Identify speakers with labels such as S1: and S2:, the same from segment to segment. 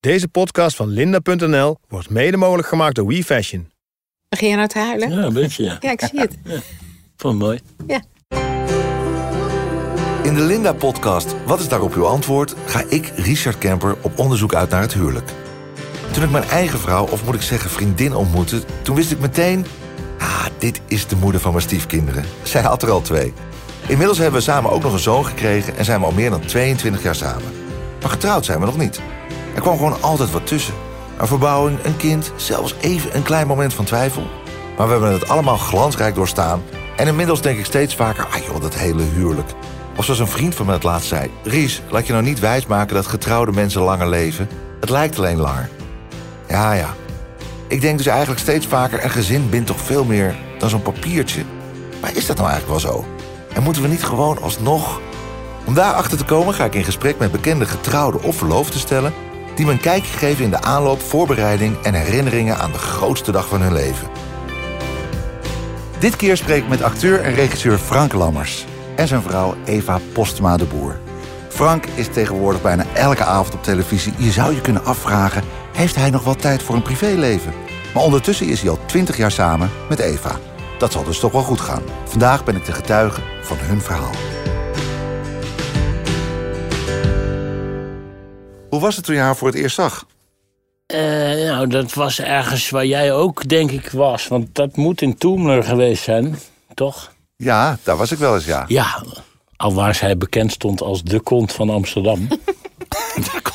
S1: Deze podcast van linda.nl wordt mede mogelijk gemaakt door WeFashion.
S2: Begin je nou te huilen?
S3: Ja, een beetje, ja.
S2: Ja, ik zie het.
S3: Vond het mooi.
S2: Ja.
S4: In de Linda-podcast Wat is daarop uw antwoord? ga ik, Richard Kemper, op onderzoek uit naar het huwelijk. Toen ik mijn eigen vrouw, of moet ik zeggen vriendin, ontmoette... toen wist ik meteen... ah, dit is de moeder van mijn stiefkinderen. Zij had er al twee. Inmiddels hebben we samen ook nog een zoon gekregen... en zijn we al meer dan 22 jaar samen. Maar getrouwd zijn we nog niet. Er kwam gewoon altijd wat tussen. Een verbouwing, een kind, zelfs even een klein moment van twijfel. Maar we hebben het allemaal glansrijk doorstaan... en inmiddels denk ik steeds vaker... ah joh, dat hele huwelijk... Of zoals een vriend van me het laatst zei: Ries, laat je nou niet wijsmaken dat getrouwde mensen langer leven. Het lijkt alleen langer. Ja, ja. Ik denk dus eigenlijk steeds vaker: een gezin bindt toch veel meer dan zo'n papiertje. Maar is dat nou eigenlijk wel zo? En moeten we niet gewoon alsnog. Om daarachter te komen ga ik in gesprek met bekende getrouwden of verloofden stellen. die me een kijkje geven in de aanloop, voorbereiding en herinneringen aan de grootste dag van hun leven. Dit keer spreek ik met acteur en regisseur Frank Lammers en zijn vrouw Eva Postma de Boer. Frank is tegenwoordig bijna elke avond op televisie. Je zou je kunnen afvragen, heeft hij nog wel tijd voor een privéleven? Maar ondertussen is hij al twintig jaar samen met Eva. Dat zal dus toch wel goed gaan. Vandaag ben ik de getuige van hun verhaal. Hoe was het toen je haar voor het eerst zag?
S3: Eh, nou, dat was ergens waar jij ook, denk ik, was. Want dat moet in Toemler geweest zijn, toch?
S4: Ja, daar was ik wel eens, ja.
S3: Ja, alwaar zij bekend stond als de kont van Amsterdam.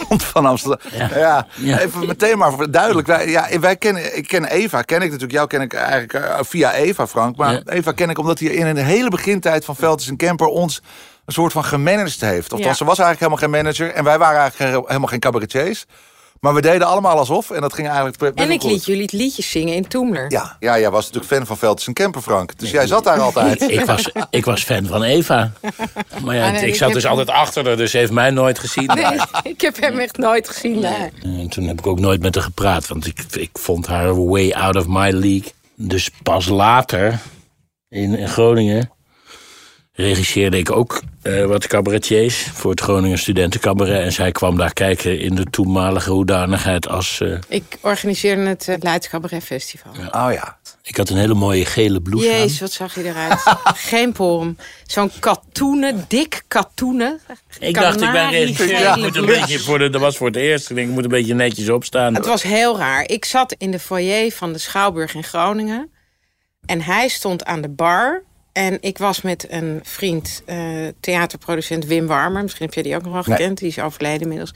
S4: Komt van Amsterdam. Ja,
S3: Ja.
S4: even meteen maar voor- duidelijk. Wij, ja, wij kennen, ik ken Eva, ken ik natuurlijk. Jou ken ik eigenlijk eh, via Eva, Frank. Maar
S3: Ja.
S4: Eva ken ik omdat hij in een hele begintijd van Velders en Kemper ons een soort van gemanaged heeft. Oftewel,
S2: Ja.
S4: ze was eigenlijk helemaal geen manager en wij waren eigenlijk he- helemaal geen cabaretiers. Maar we deden allemaal alsof en dat ging eigenlijk. pre- best
S2: En
S4: wel
S2: ik
S4: goed.
S2: liet jullie het liedje zingen in Toemler.
S4: Ja, ja, jij was natuurlijk fan van Velders en Kemper, Frank. Dus jij zat daar altijd.
S3: ik, was, ik was fan van Eva. Maar ja,
S2: Ah, nee,
S3: ik
S2: ik
S3: zat
S2: heb-
S3: dus altijd achter haar, dus ze heeft mij nooit gezien.
S2: Nee, ik heb hem echt nooit gezien daar.
S3: Eh, En toen heb ik ook nooit met haar gepraat, want ik, ik vond haar way out of my league. Dus pas later, in, in Groningen, regisseerde ik ook eh, wat cabaretiers voor het Groningen Studentencabaret. En zij kwam daar kijken in de toenmalige hoedanigheid als... eh,
S2: Ik organiseerde het eh, Leids Cabaret Festival.
S4: Oh ja.
S3: ik had een hele mooie gele blouse aan.
S2: Jezus, wat zag je eruit. Geen porum. Zo'n katoenen, dik katoenen.
S3: Ik dacht, ik ben regisseur,
S2: Kanariegele
S3: ik moet een
S2: blouse.
S3: beetje voor de, dat was voor het eerst. Ik denk, ik moet een beetje netjes opstaan.
S2: Het was heel raar. Ik zat in de foyer van de Schouwburg in Groningen. En hij stond aan de bar. En ik was met een vriend, eh, theaterproducent Wim Warmer. Misschien heb jij die ook nog wel
S4: Nee.
S2: gekend. Die is overleden inmiddels.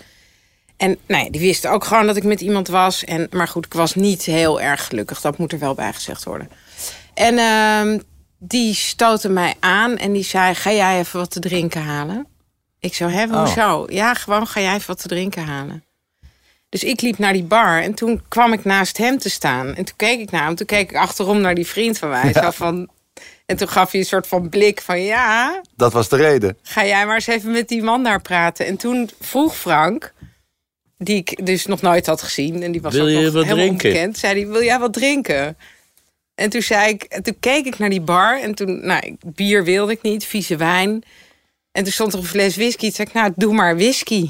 S2: En nou ja, die wist ook gewoon dat ik met iemand was. En, maar goed, ik was niet heel erg gelukkig. Dat moet er wel bij gezegd worden. En ehm, die stootte mij aan en die zei... ga jij even wat te drinken halen? Ik zo, hè, hoezo? Ja, gewoon ga jij even wat te drinken halen. Dus ik liep naar die bar en toen kwam ik naast hem te staan. En toen keek ik naar hem, toen keek ik achterom naar die vriend van mij. Zo van, en toen gaf hij een soort van blik van... ja,
S4: Dat was de reden.
S2: ga jij maar eens even met die man daar praten. En toen vroeg Frank, die ik dus nog nooit had gezien... en die was
S3: Wil
S2: ook
S3: je
S2: nog
S3: wat
S2: helemaal
S3: drinken?
S2: onbekend, zei hij, wil jij wat drinken? En toen, zei ik, en toen keek ik naar die bar en toen... Nou, ik- bier wilde ik niet, vieze wijn. En toen stond er een fles whisky. Toen zei ik, nou, doe maar whisky.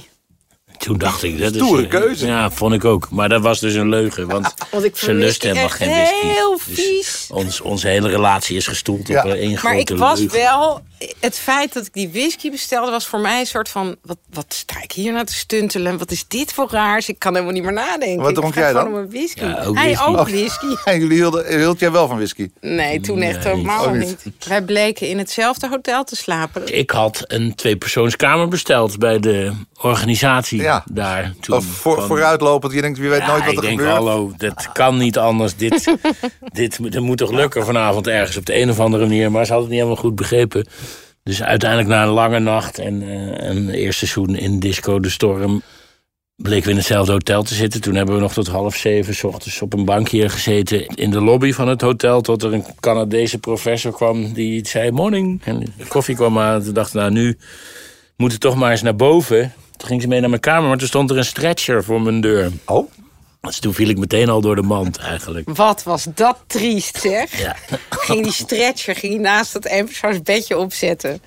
S3: Toen dacht ik, dat is...
S4: Stoere
S3: eh,
S4: keuze.
S3: Ja, vond ik ook. Maar dat was dus een leugen, want,
S2: Ah, Want ik
S3: ze
S2: vond
S3: lust
S2: whisky
S3: helemaal
S2: echt
S3: geen whisky.
S2: heel
S3: Dus
S2: vies.
S3: ons, onze hele relatie is gestoeld
S4: Ja.
S3: op eh, één
S2: Maar ik
S3: grote
S2: was
S3: leugen.
S2: wel... Het feit dat ik die whisky bestelde was voor mij een soort van... Wat, wat sta ik hier nou te stuntelen? Wat is dit voor raars? Ik kan helemaal niet meer nadenken.
S4: Wat
S2: ik
S4: dronk
S2: ga
S4: jij
S2: gewoon
S4: dan?
S2: om een whisky.
S3: Ja, ook
S2: Hij
S3: whisky.
S2: ook
S3: Oh.
S2: whisky.
S4: En jullie hielden, hield jij wel van whisky?
S2: Nee, toen echt
S3: Nee. Oh,
S2: helemaal
S4: Ook niet.
S2: niet. Wij bleken in hetzelfde hotel te slapen.
S3: Ik had een tweepersoonskamer besteld bij de organisatie
S4: Ja.
S3: daar. Toen
S4: Of voor,
S3: Van-
S4: vooruitlopend, je denkt, wie weet
S3: Ja,
S4: nooit wat
S3: ik
S4: er
S3: denk,
S4: gebeurt.
S3: hallo, dat kan niet anders. Dit, dit, moet- dit moet toch lukken vanavond ergens op de een of andere manier. Maar ze had het niet helemaal goed begrepen. Dus uiteindelijk na een lange nacht en eh, een eerste seizoen in Disco de Storm... bleken we in hetzelfde hotel te zitten. Toen hebben we nog tot half zeven 's ochtends op een bankje gezeten... in de lobby van het hotel, tot er een Canadese professor kwam... die iets zei, morning. En de koffie kwam aan, toen dacht ik, nou nu moeten toch maar eens naar boven... Toen ging ze mee naar mijn kamer, maar toen stond er een stretcher voor mijn deur.
S4: Oh,
S3: Dus toen viel ik meteen al door de mand eigenlijk.
S2: Wat was dat triest, zeg.
S3: Ja.
S2: Ging die stretcher ging die naast dat eenpersoonsbedje opzetten.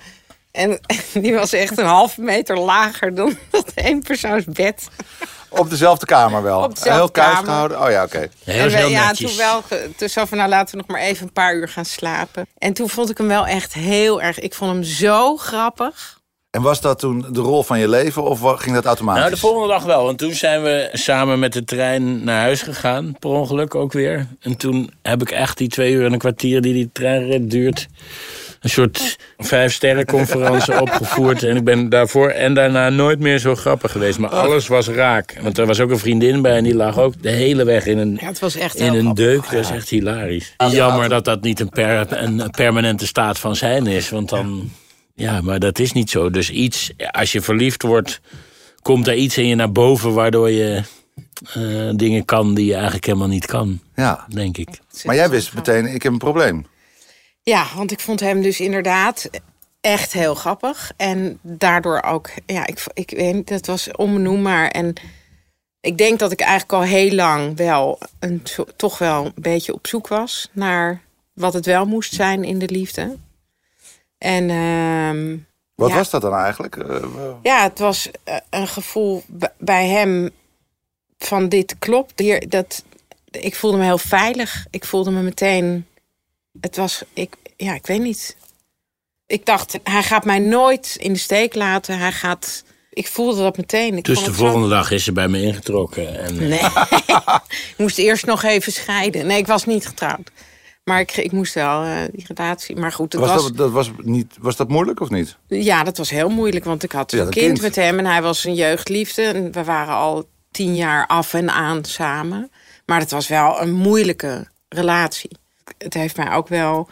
S2: En die was echt een halve meter lager dan dat eenpersoonsbed.
S4: Op dezelfde kamer wel.
S2: Op dezelfde
S4: heel kuis
S2: kamer.
S4: gehouden. Oh ja, oké.
S3: Nee, dat is
S2: en
S3: heel
S2: we- ja,
S3: netjes.
S2: toen wel. ge- Toen zo van, nou laten we nog maar even een paar uur gaan slapen. En toen vond ik hem wel echt heel erg. Ik vond hem zo grappig.
S4: En was dat toen de rol van je leven of wa- ging dat automatisch?
S3: Nou, de volgende dag wel. Want toen zijn we samen met de trein naar huis gegaan. Per ongeluk ook weer. En toen heb ik echt die twee uur en een kwartier die die treinrit duurt... een soort vijfsterrenconferentie opgevoerd. En ik ben daarvoor en daarna nooit meer zo grappig geweest.
S2: Oh.
S3: Maar alles was raak. Want er was ook een vriendin bij en die lag ook de hele weg in een...
S2: Ja, het was echt
S3: In
S2: heel
S3: een
S2: grappig.
S3: deuk, dat is echt hilarisch. Jammer dat dat niet een, per- een permanente staat van zijn is. Want dan. Ja, maar dat is niet zo. Dus iets, als je verliefd wordt, komt er iets in je naar boven waardoor je eh, dingen kan die je eigenlijk helemaal niet kan,
S4: Ja.
S3: denk ik.
S4: Maar jij wist meteen, ik heb een probleem.
S2: Ja, want ik vond hem dus inderdaad echt heel grappig. En daardoor ook, ja, ik, v- ik weet niet, dat was onbenoembaar. En ik denk dat ik eigenlijk al heel lang wel, een, zo- toch wel een beetje op zoek was naar wat het wel moest zijn in de liefde. En ehm,
S4: Wat
S2: Ja.
S4: was dat dan eigenlijk? Eh, w-
S2: ja, het was eh, een gevoel b- bij hem van dit klopt. Hier, dat, ik voelde me heel veilig. Ik voelde me meteen. Het was, ik, ja, ik weet niet. Ik dacht, hij gaat mij nooit in de steek laten. Hij gaat. Ik voelde dat meteen. Ik
S3: Dus
S2: vond
S3: de
S2: het zo-
S3: volgende dag is ze bij me ingetrokken. En
S2: Nee. ik moest eerst nog even scheiden. Nee, ik was niet getrouwd. Maar ik, ik moest wel eh, die relatie. Maar goed, het
S4: was,
S2: was,
S4: Dat, dat was, niet, was dat moeilijk of niet?
S2: Ja, dat was heel moeilijk, want ik had
S4: Ja,
S2: een
S4: dat
S2: kind,
S4: kind.
S2: met hem en hij was een jeugdliefde. En we waren al tien jaar af en aan samen. Maar het was wel een moeilijke relatie. Het heeft mij ook wel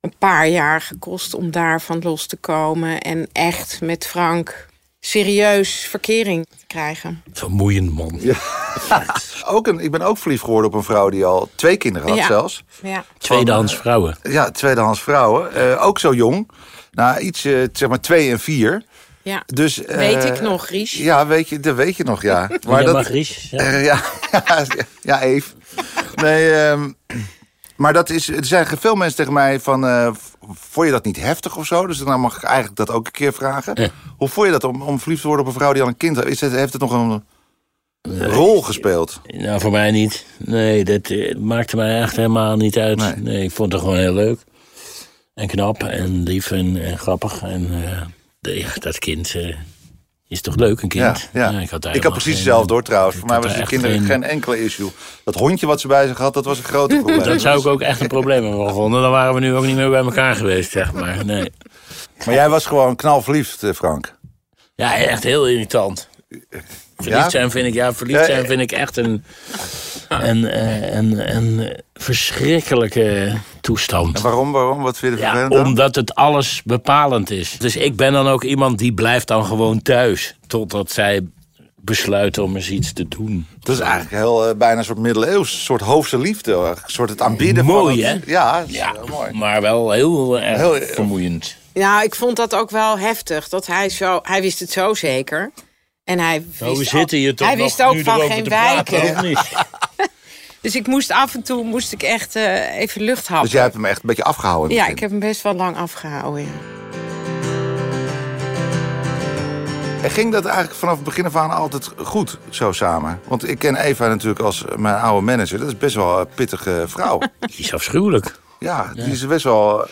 S2: een paar jaar gekost om daarvan los te komen. En echt met Frank serieus verkering te krijgen.
S3: vermoeiend man.
S4: Ook een, ik ben ook verliefd geworden op een vrouw die al twee kinderen had
S2: Ja.
S4: zelfs.
S2: Ja.
S3: Tweedehands vrouwen.
S4: Ja, tweedehands vrouwen. Eh, ook zo jong. Nou, iets, eh, zeg maar twee en vier.
S2: ja.
S4: Dus, eh,
S2: Weet ik nog, Ries?
S4: Ja, weet je, dat weet je nog, ja.
S3: Maar
S4: dat,
S3: mag Ries. Ja.
S4: Eh, ja, ja, ja, Eve. Nee, ehm, maar dat is, er zeggen veel mensen tegen mij van, eh, v- vond je dat niet heftig of zo? Dus dan mag ik eigenlijk dat ook een keer vragen. Hoe vond je dat om, om verliefd te worden op een vrouw die al een kind heeft? Is het, heeft het nog een rol gespeeld?
S3: Nou, voor mij niet. Nee, dat eh, maakte mij echt helemaal niet uit.
S4: Nee.
S3: Nee, ik vond het gewoon heel leuk. En knap en lief en, en grappig. En eh, de- ja, dat kind eh, is toch leuk, een kind?
S4: Ja, ja.
S3: ik
S4: ik
S3: had,
S4: had,
S3: daar helemaal
S4: precies
S3: geen-
S4: hetzelfde hoor trouwens. Voor mij
S3: had
S4: was
S3: daar
S4: de
S3: echt
S4: kinderen geen...
S3: geen-
S4: enkele issue. Dat hondje wat ze bij zich had, dat was een groot probleem.
S3: Dat zou ik ook echt een probleem hebben gevonden. Dan waren we nu ook niet meer bij elkaar geweest, zeg maar. Nee.
S4: Maar jij was gewoon knalverliefd, eh, Frank.
S3: Ja, echt heel irritant. Verliefd
S4: Ja?
S3: zijn vind ik, ja, verliefd
S4: Ja,
S3: zijn
S4: eh.
S3: vind ik echt een, een, eh, een, een verschrikkelijke toestand.
S4: En waarom, waarom? Wat vind je er
S3: Ja,
S4: vervelend aan?
S3: omdat het alles bepalend is. Dus ik ben dan ook iemand die blijft dan gewoon thuis. Totdat zij besluiten om eens iets te doen.
S4: Dat is eigenlijk heel, eh, bijna een soort middeleeuws, een soort hoofdse liefde. hoor. Een soort het aanbidden
S3: Mooi,
S4: van... het-
S3: hè?
S4: Ja, dat is
S3: Ja,
S4: heel mooi.
S3: maar wel heel erg
S4: Heel-
S3: vermoeiend.
S2: Nou, ik vond dat ook wel heftig. Dat hij zo, hij wist het zo zeker. En hij wist
S3: Nou, we
S2: al-
S3: zitten hier toch
S2: Hij
S3: nog
S2: wist ook
S3: nu
S2: van
S3: erover
S2: geen
S3: te praten,
S2: wijken.
S3: of niet?
S2: Dus ik moest af en toe moest ik echt eh, even lucht happen.
S4: Dus jij hebt hem echt een beetje afgehouden.
S2: Ja, ik heb hem best wel lang afgehouden. ja.
S4: En ging dat eigenlijk vanaf het begin af aan altijd goed zo samen? Want ik ken Eva natuurlijk als mijn oude manager. Dat is best wel een pittige vrouw.
S3: Die is afschuwelijk.
S4: ja, die is best wel... eh,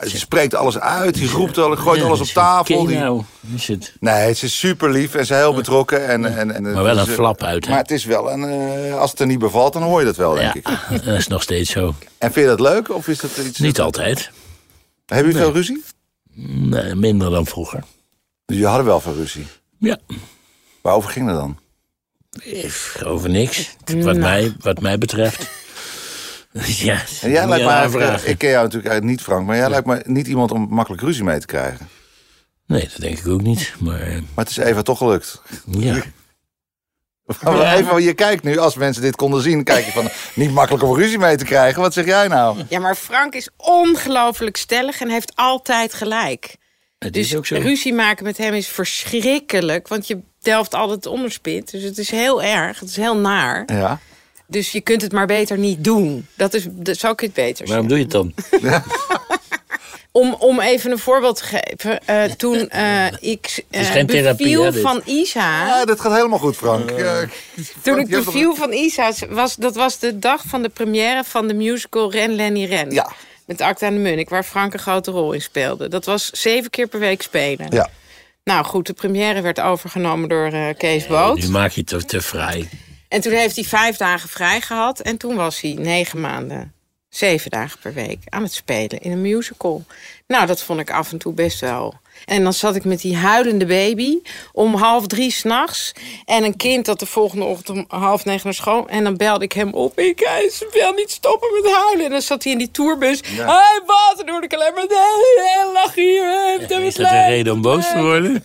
S4: die spreekt alles uit, die roept alles, gooit
S3: Ja,
S4: alles op
S3: is een
S4: tafel. die-
S3: keno, is het.
S4: Nee, ze is super lief en ze is heel betrokken. En, en, en,
S3: Maar wel een
S4: ze-
S3: flap uit, hè?
S4: Maar het is wel een... eh, als het er niet bevalt, dan hoor je dat wel, denk
S3: Ja,
S4: ik.
S3: dat is nog steeds zo.
S4: En vind je dat leuk? Of is dat iets...
S3: Niet altijd.
S4: Hebben jullie veel ruzie?
S3: Nee, minder dan vroeger.
S4: Dus jullie hadden wel veel ruzie.
S3: Ja,
S4: Waarover ging dat dan?
S3: over niks.
S2: Nou.
S3: Wat, mij, wat mij betreft. Ja,
S4: En jij lijkt me eigenlijk,
S3: vragen.
S4: ik ken jou natuurlijk eigenlijk niet, Frank, maar jij lijkt me niet iemand om makkelijk ruzie mee te krijgen.
S3: Nee, dat denk ik ook niet. Maar eh,
S4: Maar het is Eva toch gelukt.
S3: ja.
S4: Maar Eva, je kijkt nu, als mensen dit konden zien, kijk je van niet makkelijk om ruzie mee te krijgen. Wat zeg jij nou?
S2: Ja, maar Frank is ongelooflijk stellig en heeft altijd gelijk.
S3: Het
S2: Dus
S3: is ook zo.
S2: ruzie maken met hem is verschrikkelijk. Want je delft altijd het onderspit. Dus het is heel erg. Het is heel naar.
S4: Ja.
S2: Dus je kunt het maar beter niet doen. Dat is, dat, zo kun je het beter
S3: Waarom
S2: zeggen.
S3: doe je het dan?
S2: Om, om even een voorbeeld te geven. eh, toen eh, ik eh,
S3: is geen therapie,
S2: beviel
S3: hè, dit?
S2: van Isa...
S4: Ja, dat gaat helemaal goed, Frank. Ja, Frank,
S2: Toen
S4: je
S2: ik
S4: hebt toch-
S2: beviel van Isa, was, dat was de dag van de première van de musical Ren Lenny Ren.
S4: Ja.
S2: Met Acta aan de Munnik, waar Frank een grote rol in speelde. Dat was zeven keer per week spelen.
S4: Ja.
S2: Nou goed, de première werd overgenomen door eh, Kees Boot.
S3: Nu maak je het te, te vrij.
S2: En toen heeft hij vijf dagen vrij gehad. En toen was hij negen maanden, zeven dagen per week aan het spelen in een musical. Nou, dat vond ik af en toe best wel. En dan zat ik met die huilende baby om half drie s'nachts. En een kind dat de volgende ochtend om half negen naar school. En dan belde ik hem op. Ik hij ze wil niet stoppen met huilen. En dan zat hij in die tourbus. Hé, hey, wat? En dan hoorde ik alleen maar. "Nee, Lach hier. hè, het
S3: Is dat een reden om boos te worden?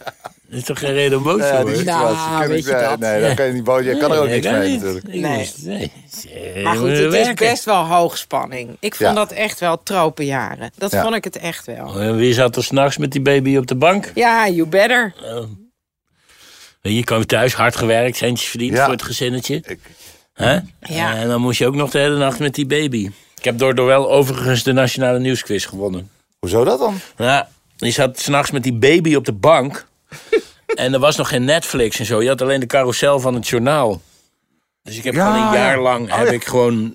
S3: Is toch geen reden om boos te
S4: Ja, Eh, die
S3: worden?
S4: situatie
S2: Nou,
S4: ken ik
S2: weet je
S4: wel.
S2: dat?
S4: Nee, dat kan je niet boos. Je kan er ook
S3: Nee,
S4: niks
S3: kan
S4: mee
S3: niet.
S4: natuurlijk.
S3: Ik
S2: Nee.
S3: moest- Nee. Je
S2: Maar
S3: moet
S2: goed, het is
S3: werken.
S2: best wel hoogspanning. Ik vond
S4: Ja.
S2: dat echt wel tropenjaren. Dat
S4: Ja.
S2: vond ik het echt wel.
S3: En Wie zat er s'nachts met die baby op de bank?
S2: Ja, you better.
S3: Je kwam thuis, hard gewerkt, centjes verdiend
S4: Ja.
S3: voor het gezinnetje.
S4: Ik-
S3: Hè?
S2: Ja.
S3: En dan moest je ook nog de hele nacht met die baby. Ik heb door wel overigens de Nationale Nieuwsquiz gewonnen.
S4: Hoezo dat dan?
S3: Ja, je zat s'nachts met die baby op de bank. en er was nog geen Netflix en zo. Je had alleen de carousel van het journaal. Dus ik heb
S4: Ja,
S3: gewoon een jaar
S4: ja.
S3: lang
S4: Oh,
S3: heb
S4: ja.
S3: ik gewoon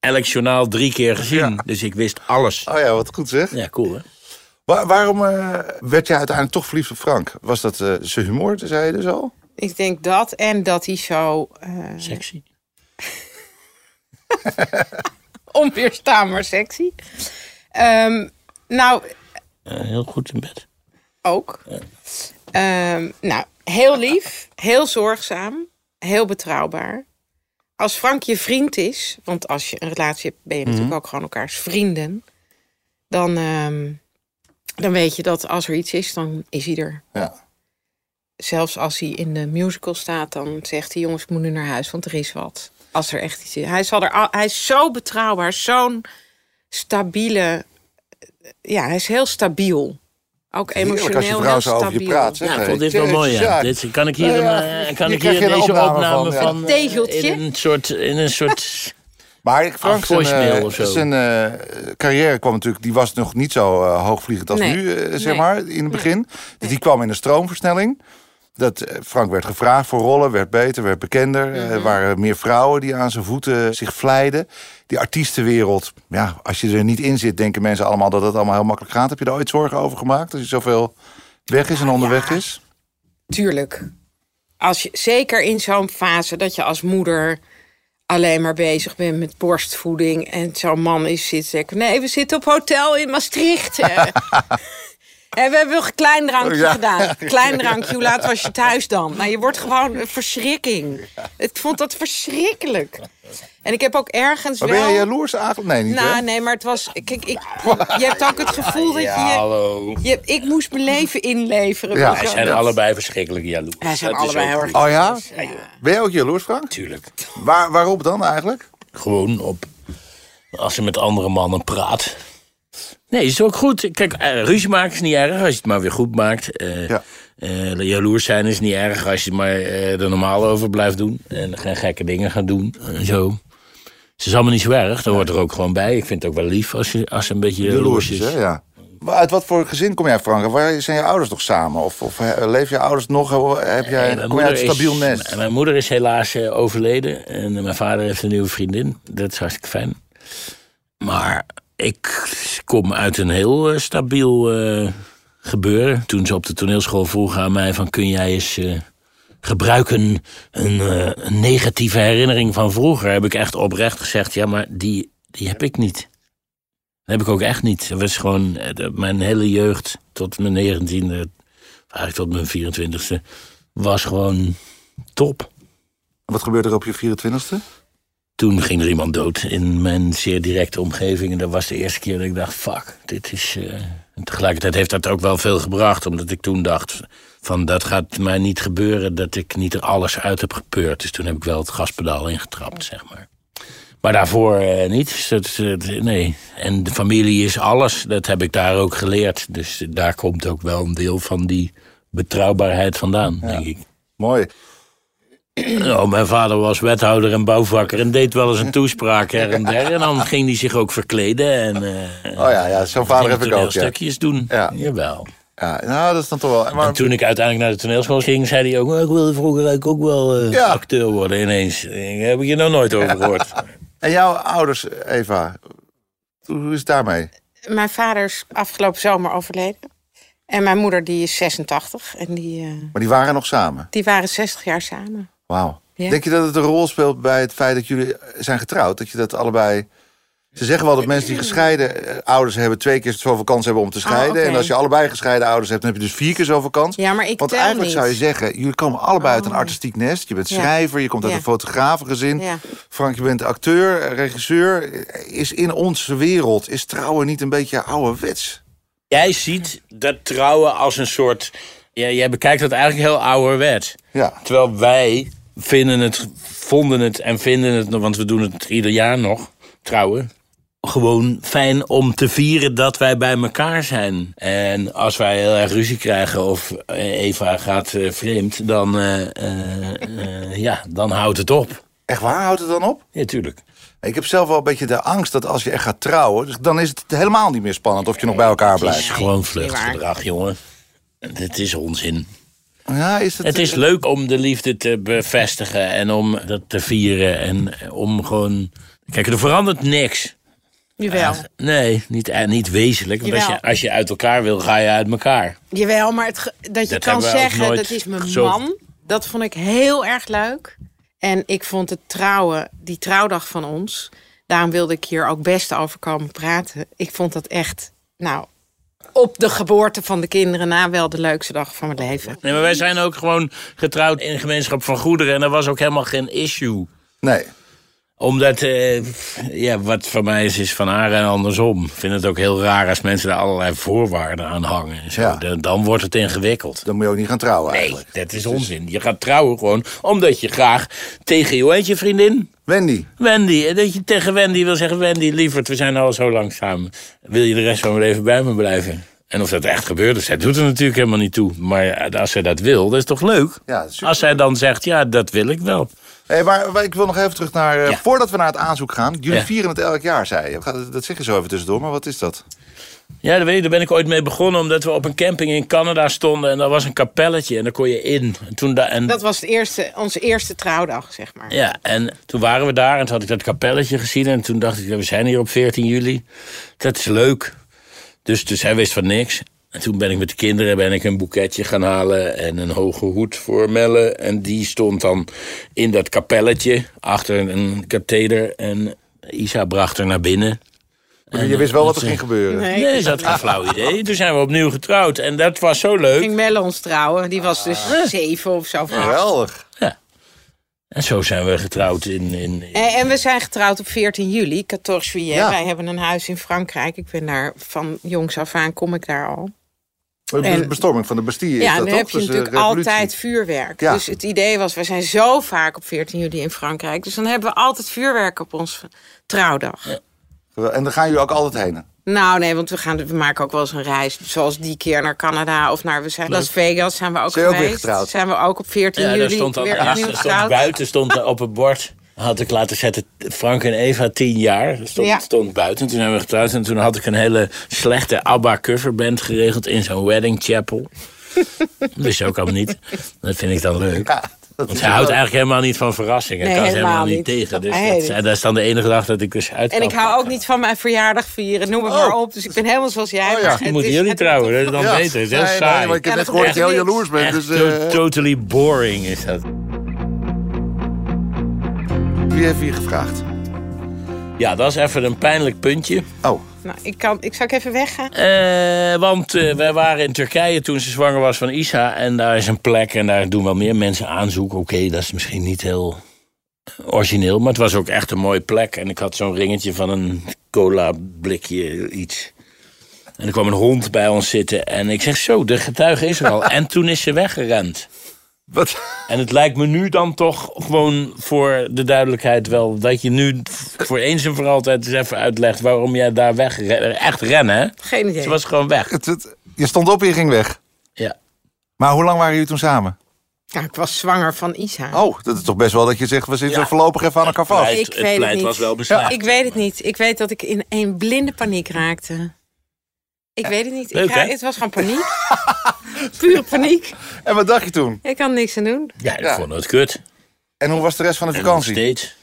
S3: elk journaal drie keer gezien. Dus ik wist alles.
S4: Oh ja, wat goed zeg.
S3: Ja, cool hè?
S4: Wa- waarom eh, werd jij uiteindelijk toch verliefd op Frank? Was dat eh, zijn humor, zei je dus al?
S2: Ik denk dat en dat hij zo eh,
S3: Sexy.
S2: onweerstaanbaar sexy. Ehm, nou,
S3: Ja, heel goed in bed.
S2: ook. Ehm, nou, heel lief, heel zorgzaam, heel betrouwbaar. Als Frank je vriend is, want als je een relatie hebt, ben je natuurlijk ook gewoon elkaars vrienden. Dan, ehm, dan weet je dat als er iets is, dan is hij er.
S4: Ja.
S2: zelfs als hij in de musical staat, dan zegt hij: jongens, ik moet nu naar huis, want er is wat. Als er echt iets is. Hij, zal er al- hij is zo betrouwbaar, zo'n stabiele. Ja, hij is heel stabiel. Ook
S4: Heerlijk
S2: emotioneel
S4: als je vrouw
S2: heel
S4: zo over
S2: stabiel.
S4: je praat. Zeg,
S3: Ja, ik
S4: hey,
S3: vond dit wel
S4: Jezus,
S3: mooi. Ja.
S4: ja.
S3: Dit, kan ik hier,
S4: Nou ja,
S3: een, eh, kan
S4: hier
S3: ik
S4: krijg
S3: hier
S4: je een
S3: deze
S4: opname
S3: opname
S4: van, ja.
S3: van...
S2: Een
S3: eh,
S2: tegeltje?
S3: In een soort... In een soort
S4: Maar Frank, zijn,
S3: voicemail
S4: eh,
S3: of zo.
S4: zijn eh, carrière kwam natuurlijk... die was nog niet zo eh, hoogvliegend als
S2: Nee.
S4: nu, eh, zeg
S2: Nee.
S4: maar, in het begin. Dus die kwam in een stroomversnelling. Dat, eh, Frank werd gevraagd voor rollen, werd beter, werd bekender.
S2: Mhm.
S4: Eh, Er waren meer vrouwen die aan zijn voeten zich vleiden. Die artiestenwereld, ja, als je er niet in zit... denken mensen allemaal dat het allemaal heel makkelijk gaat. Heb je daar ooit zorgen over gemaakt? Als je zoveel weg is en
S2: Nou
S4: onderweg is?
S2: Tuurlijk. Als je, zeker in zo'n fase dat je als moeder alleen maar bezig bent met borstvoeding. En zo'n man is zit zeggen. Nee, we zitten op hotel in Maastricht. eh." En we hebben een klein drankje
S4: Oh Ja.
S2: gedaan. Klein drankje, hoe laat was je thuis dan? Nou, je wordt gewoon een verschrikking. Ik vond dat verschrikkelijk. En ik heb ook ergens
S4: Maar
S2: wel...
S4: ben jij jaloers eigenlijk? Nee, niet hè?
S2: Nou, nee, maar het was... Kijk, ik, je hebt ook het gevoel dat je...
S3: hallo.
S2: je ik moest mijn leven inleveren.
S4: Ja,
S2: Weet je
S3: Wij
S2: wel.
S3: zijn
S4: dat-
S3: allebei verschrikkelijk jaloers.
S2: Wij zijn
S3: Dat is
S2: allebei
S3: ook
S2: heel
S3: goed.
S2: erg
S4: Oh ja?
S2: Ja.
S4: Ben jij ook jaloers, Frank?
S3: Tuurlijk.
S4: Waar, waarop dan eigenlijk?
S3: Gewoon op. Als ze met andere mannen praat. Nee, is ook goed. Kijk, eh, ruzie maken is niet erg als je het maar weer goed maakt. Eh,
S4: Ja.
S3: eh, jaloers zijn is niet erg als je het maar eh, er normaal over blijft doen. En geen gekke dingen gaat doen. En zo. Het is allemaal niet zo erg. Dat hoort er ook gewoon bij. Ik vind het ook wel lief als, je, als ze een beetje jaloers is.
S4: Jaloers, hè? Ja. Maar uit wat voor gezin kom jij, Frank? Waar zijn je ouders nog samen? Of, of eh, leven je ouders nog? Heb jij,
S3: Eh, Mijn
S4: kom je
S3: moeder
S4: uit een stabiel
S3: is-
S4: nest?
S3: m- Mijn moeder is helaas eh, overleden. En eh, mijn vader heeft een nieuwe vriendin. Dat is hartstikke fijn. Maar ik kom uit een heel eh, stabiel eh, gebeuren. Toen ze op de toneelschool vroegen aan mij van... kun jij eens eh, gebruiken een, eh, een negatieve herinnering van vroeger... heb ik echt oprecht gezegd... ja, maar die, die heb ik niet. Dat heb ik ook echt niet. Dat was gewoon eh, de- mijn hele jeugd tot mijn negentiende... eigenlijk tot mijn 24 was gewoon top.
S4: Wat gebeurde er op je 24e?
S3: Toen ging er iemand dood in mijn zeer directe omgeving. En dat was de eerste keer dat ik dacht, fuck, dit is... eh, En tegelijkertijd heeft dat ook wel veel gebracht. Omdat ik toen dacht, van dat gaat mij niet gebeuren... dat ik niet er alles uit heb gepeurd. Dus toen heb ik wel het gaspedaal ingetrapt, zeg maar. Maar daarvoor eh, niet. Dus dat, eh, nee. En de familie is alles. Dat heb ik daar ook geleerd. Dus daar komt ook wel een deel van die betrouwbaarheid vandaan, denk ik.
S4: Mooi.
S3: Nou, mijn vader was wethouder en bouwvakker en deed wel eens een toespraak her en der. En dan ging hij zich ook verkleden en eh,
S4: Oh ja, ja zo'n vader heb
S3: ging
S4: ik ook. Ja.
S3: toneelstukjes doen.
S4: Ja.
S3: Jawel.
S4: ja, nou, dat is dan toch wel... Maar,
S3: En toen ik uiteindelijk naar de toneelschool ging, zei hij ook... "Oh, Ik wilde vroeger eigenlijk ook wel eh,
S4: Ja.
S3: acteur worden ineens. Daar heb ik je nou nooit over gehoord.
S4: En jouw ouders, Eva, hoe hoe is het daarmee?
S2: Mijn vader is afgelopen zomer overleden. En mijn moeder die is 86. En die, eh,
S4: Maar die waren nog samen.
S2: die waren 60 jaar samen.
S4: Wauw.
S2: Ja.
S4: Denk je dat het een rol speelt bij het feit dat jullie zijn getrouwd? Dat je dat allebei... Ze zeggen wel dat mensen die gescheiden eh, ouders hebben... twee keer zoveel kans hebben om te scheiden.
S2: Ah, oké.
S4: En als je allebei gescheiden ouders hebt, dan heb je dus vier keer zoveel kans.
S2: Ja, maar ik
S4: Want
S2: tel
S4: eigenlijk
S2: niet. Oh.
S4: zou je zeggen, jullie komen allebei uit een artistiek nest. Je bent
S2: Ja.
S4: schrijver, je komt uit
S2: Ja.
S4: een fotografengezin.
S2: Ja.
S4: Frank, je bent acteur, eh, regisseur. Is in onze wereld, is trouwen niet een beetje ouderwets?
S3: Jij ziet dat trouwen als een soort... Ja, jij bekijkt dat eigenlijk heel ouderwet.
S4: Ja.
S3: Terwijl wij vinden het, vonden het en vinden het... nog- Want we doen het ieder jaar nog, trouwen. Gewoon fijn om te vieren dat wij bij elkaar zijn. En als wij heel erg ruzie krijgen of eh, Eva gaat eh, vreemd... Dan, eh, eh, eh, ja, dan houdt het op.
S4: Echt waar, houdt het dan op?
S3: Ja, tuurlijk.
S4: Ik heb zelf wel een beetje de angst dat als je echt gaat trouwen, dus dan is het helemaal niet meer spannend of je nog bij elkaar
S3: Het is
S4: blijft.
S3: gewoon
S2: niet waar.
S3: vluchtgedrag, jongen. Het is onzin.
S4: Ja, is het, eh,
S3: Het is leuk om de liefde te bevestigen en om dat te vieren. En om gewoon. Kijk, er verandert niks.
S2: Jawel.
S3: Nee, niet, eh, niet wezenlijk. Want als
S2: Jawel.
S3: je, als je uit elkaar wil, ga je uit elkaar.
S2: Jawel, maar het, ge- dat je
S3: Dat
S2: kan
S3: hebben wij ook
S2: zeggen,
S3: nooit
S2: dat is mijn
S3: gezocht.
S2: man. Dat vond ik heel erg leuk. En ik vond het trouwen, die trouwdag van ons... daarom wilde ik hier ook best over komen praten. Ik vond dat echt, nou, op de geboorte van de kinderen na... wel de leukste dag van mijn leven.
S3: Nee, maar wij zijn ook gewoon getrouwd in een gemeenschap van goederen. En er was ook helemaal geen issue.
S4: Nee.
S3: Omdat, eh, ja, wat van mij is, is van haar en andersom. Ik vind het ook heel raar als mensen daar allerlei voorwaarden aan hangen. en Zo,
S4: Ja.
S3: dan, dan wordt het ingewikkeld.
S4: Dan moet je ook niet gaan trouwen
S3: Nee,
S4: eigenlijk.
S3: dat is onzin. Je gaat trouwen gewoon omdat je graag tegen je, hoe heet je vriendin?
S4: Wendy,
S3: Wendy. En dat je tegen Wendy wil zeggen, Wendy, lieverd, we zijn al zo lang samen. Wil je de rest van mijn leven bij me blijven? En of dat echt gebeurt, dus zij doet er natuurlijk helemaal niet toe. Maar eh, als zij dat wil, dat is toch leuk?
S4: Ja, dat is super.
S3: als zij dan zegt, ja, dat wil ik wel.
S4: hey, maar, maar ik wil nog even terug naar, eh,
S3: Ja.
S4: voordat we naar het aanzoek gaan. Jullie
S3: Ja.
S4: vieren het elk jaar, zei je. Ga- Dat zeg je zo even tussendoor, maar wat is dat?
S3: Ja, daar, weet je, daar ben ik ooit mee begonnen, omdat we op een camping in Canada stonden. En daar was een kapelletje en daar kon je in. En toen da- en
S2: Dat was het eerste, onze eerste trouwdag, zeg maar.
S3: Ja, en toen waren we daar en toen had ik dat kapelletje gezien. En toen dacht ik, we zijn hier op 14 juli. Dat is leuk. Dus, dus hij wist van niks. En toen ben ik met de kinderen ben ik een boeketje gaan halen en een hoge hoed voor Melle. En die stond dan in dat kapelletje achter een katheder. En Isa bracht haar naar binnen.
S4: je wist wel wat er ging gebeuren.
S2: Nee,
S3: Nee, ze had geen flauw idee. Toen zijn we opnieuw getrouwd en dat was zo leuk.
S2: ging Melle ons trouwen. Die was dus
S4: Ah.
S2: zeven of zo. of acht.
S4: Geweldig.
S3: En zo zijn we getrouwd in... in,
S2: En, en we zijn getrouwd op 14 juli, 14 juillet.
S4: Ja.
S2: Wij hebben een huis in Frankrijk. Ik ben daar van jongs af aan, kom ik daar al.
S4: De be-
S2: En-
S4: Bestorming van de Bastille is
S2: Ja,
S4: dat
S2: dan
S4: toch?
S2: heb je
S4: Dus, eh,
S2: natuurlijk
S4: revolutie.
S2: altijd vuurwerk.
S4: Ja.
S2: Dus het idee was, we zijn zo vaak op 14 juli in Frankrijk. Dus dan hebben we altijd vuurwerk op onze trouwdag.
S4: Gewel- En daar gaan jullie ook altijd heen.
S2: Nou nee, want we, gaan, we maken ook wel eens een reis. Zoals die keer naar Canada of naar we zijn, Las Vegas zijn we ook
S4: Zijn je ook weer
S2: geweest.
S4: getrouwd?
S2: Zijn we ook op 14
S3: Ja, daar
S2: juli
S3: stond dan
S2: weer
S3: ja,
S2: opnieuw
S3: er stond
S2: getrouwd.
S3: buiten stond er op het bord. Had ik laten zetten, Frank en Eva, tien jaar. Dat Stond,
S2: Ja.
S3: stond buiten. Toen zijn we getrouwd. En toen had ik een hele slechte ABBA coverband geregeld in zo'n wedding chapel. Dat wist je ook al niet. Dat vind ik dan leuk.
S4: Ja, dat
S3: Want
S4: is
S3: ze houdt
S4: wel-
S3: eigenlijk helemaal niet van verrassingen.
S2: Nee,
S3: kan ze helemaal
S2: helemaal
S3: niet
S2: niet.
S3: tegen. Dus
S2: Nee,
S3: dat,
S2: niet.
S3: dat is dan de enige dag dat ik dus uit
S2: En
S3: kan
S2: ik hou ook
S3: pakken.
S2: niet van mijn verjaardag vieren, noem het
S4: Oh.
S2: maar op. Dus ik ben helemaal zoals jij.
S4: Oh ja.
S2: maar
S4: Die
S2: het
S3: moeten
S2: is-
S3: jullie
S2: het-
S3: trouwen, dat is dan
S4: Ja.
S3: beter. Dat is heel
S4: Nee, nee,
S3: saai.
S4: maar ik heb
S2: Ja,
S4: net
S2: dat
S4: gehoord dat je heel
S2: hoort
S4: jaloers bent.
S3: Echt
S4: Dus,
S3: to-
S4: eh,
S3: totally boring is dat.
S4: wie heeft hier gevraagd?
S3: Ja, dat is even een pijnlijk puntje.
S4: Oh,
S2: Nou, ik, kan, ik zal ik even weggaan.
S3: Eh, want eh, wij waren in Turkije toen ze zwanger was van Isa. En daar is een plek en daar doen wel meer mensen aanzoek. Oké, dat is misschien niet heel origineel. Maar het was ook echt een mooie plek. En ik had zo'n ringetje van een cola blikje iets. En er kwam een hond bij ons zitten. En ik zeg zo, de getuige is er al. En toen is ze weggerend.
S4: wat?
S3: En het lijkt me nu dan toch gewoon voor de duidelijkheid wel... dat je nu voor eens en voor altijd eens even uitlegt... waarom jij daar weg... Echt rennen, hè?
S2: Geen idee.
S3: Ze was gewoon weg.
S4: Het- het- Je stond op en je ging weg.
S3: Ja.
S4: Maar hoe lang waren jullie toen samen?
S2: Nou, ik was zwanger van Isa.
S4: Oh, dat is toch best wel dat je zegt, we zitten
S3: Ja.
S4: voorlopig even aan elkaar vast.
S3: Pleit-
S2: Ik
S3: het
S2: weet het
S3: pleit
S2: niet.
S3: was wel beslaagd.
S2: Ik weet het niet. Ik weet dat ik in een blinde paniek raakte. Ik weet het niet.
S3: Leuk,
S2: ik ra-
S3: hè?
S2: het was gewoon paniek. Pure paniek.
S4: En wat dacht je toen?
S2: Ik kan niks aan doen.
S3: Ja, ik
S4: Ja.
S3: vond het kut.
S4: En hoe was de rest van de
S3: Nog
S4: vakantie?
S3: steeds.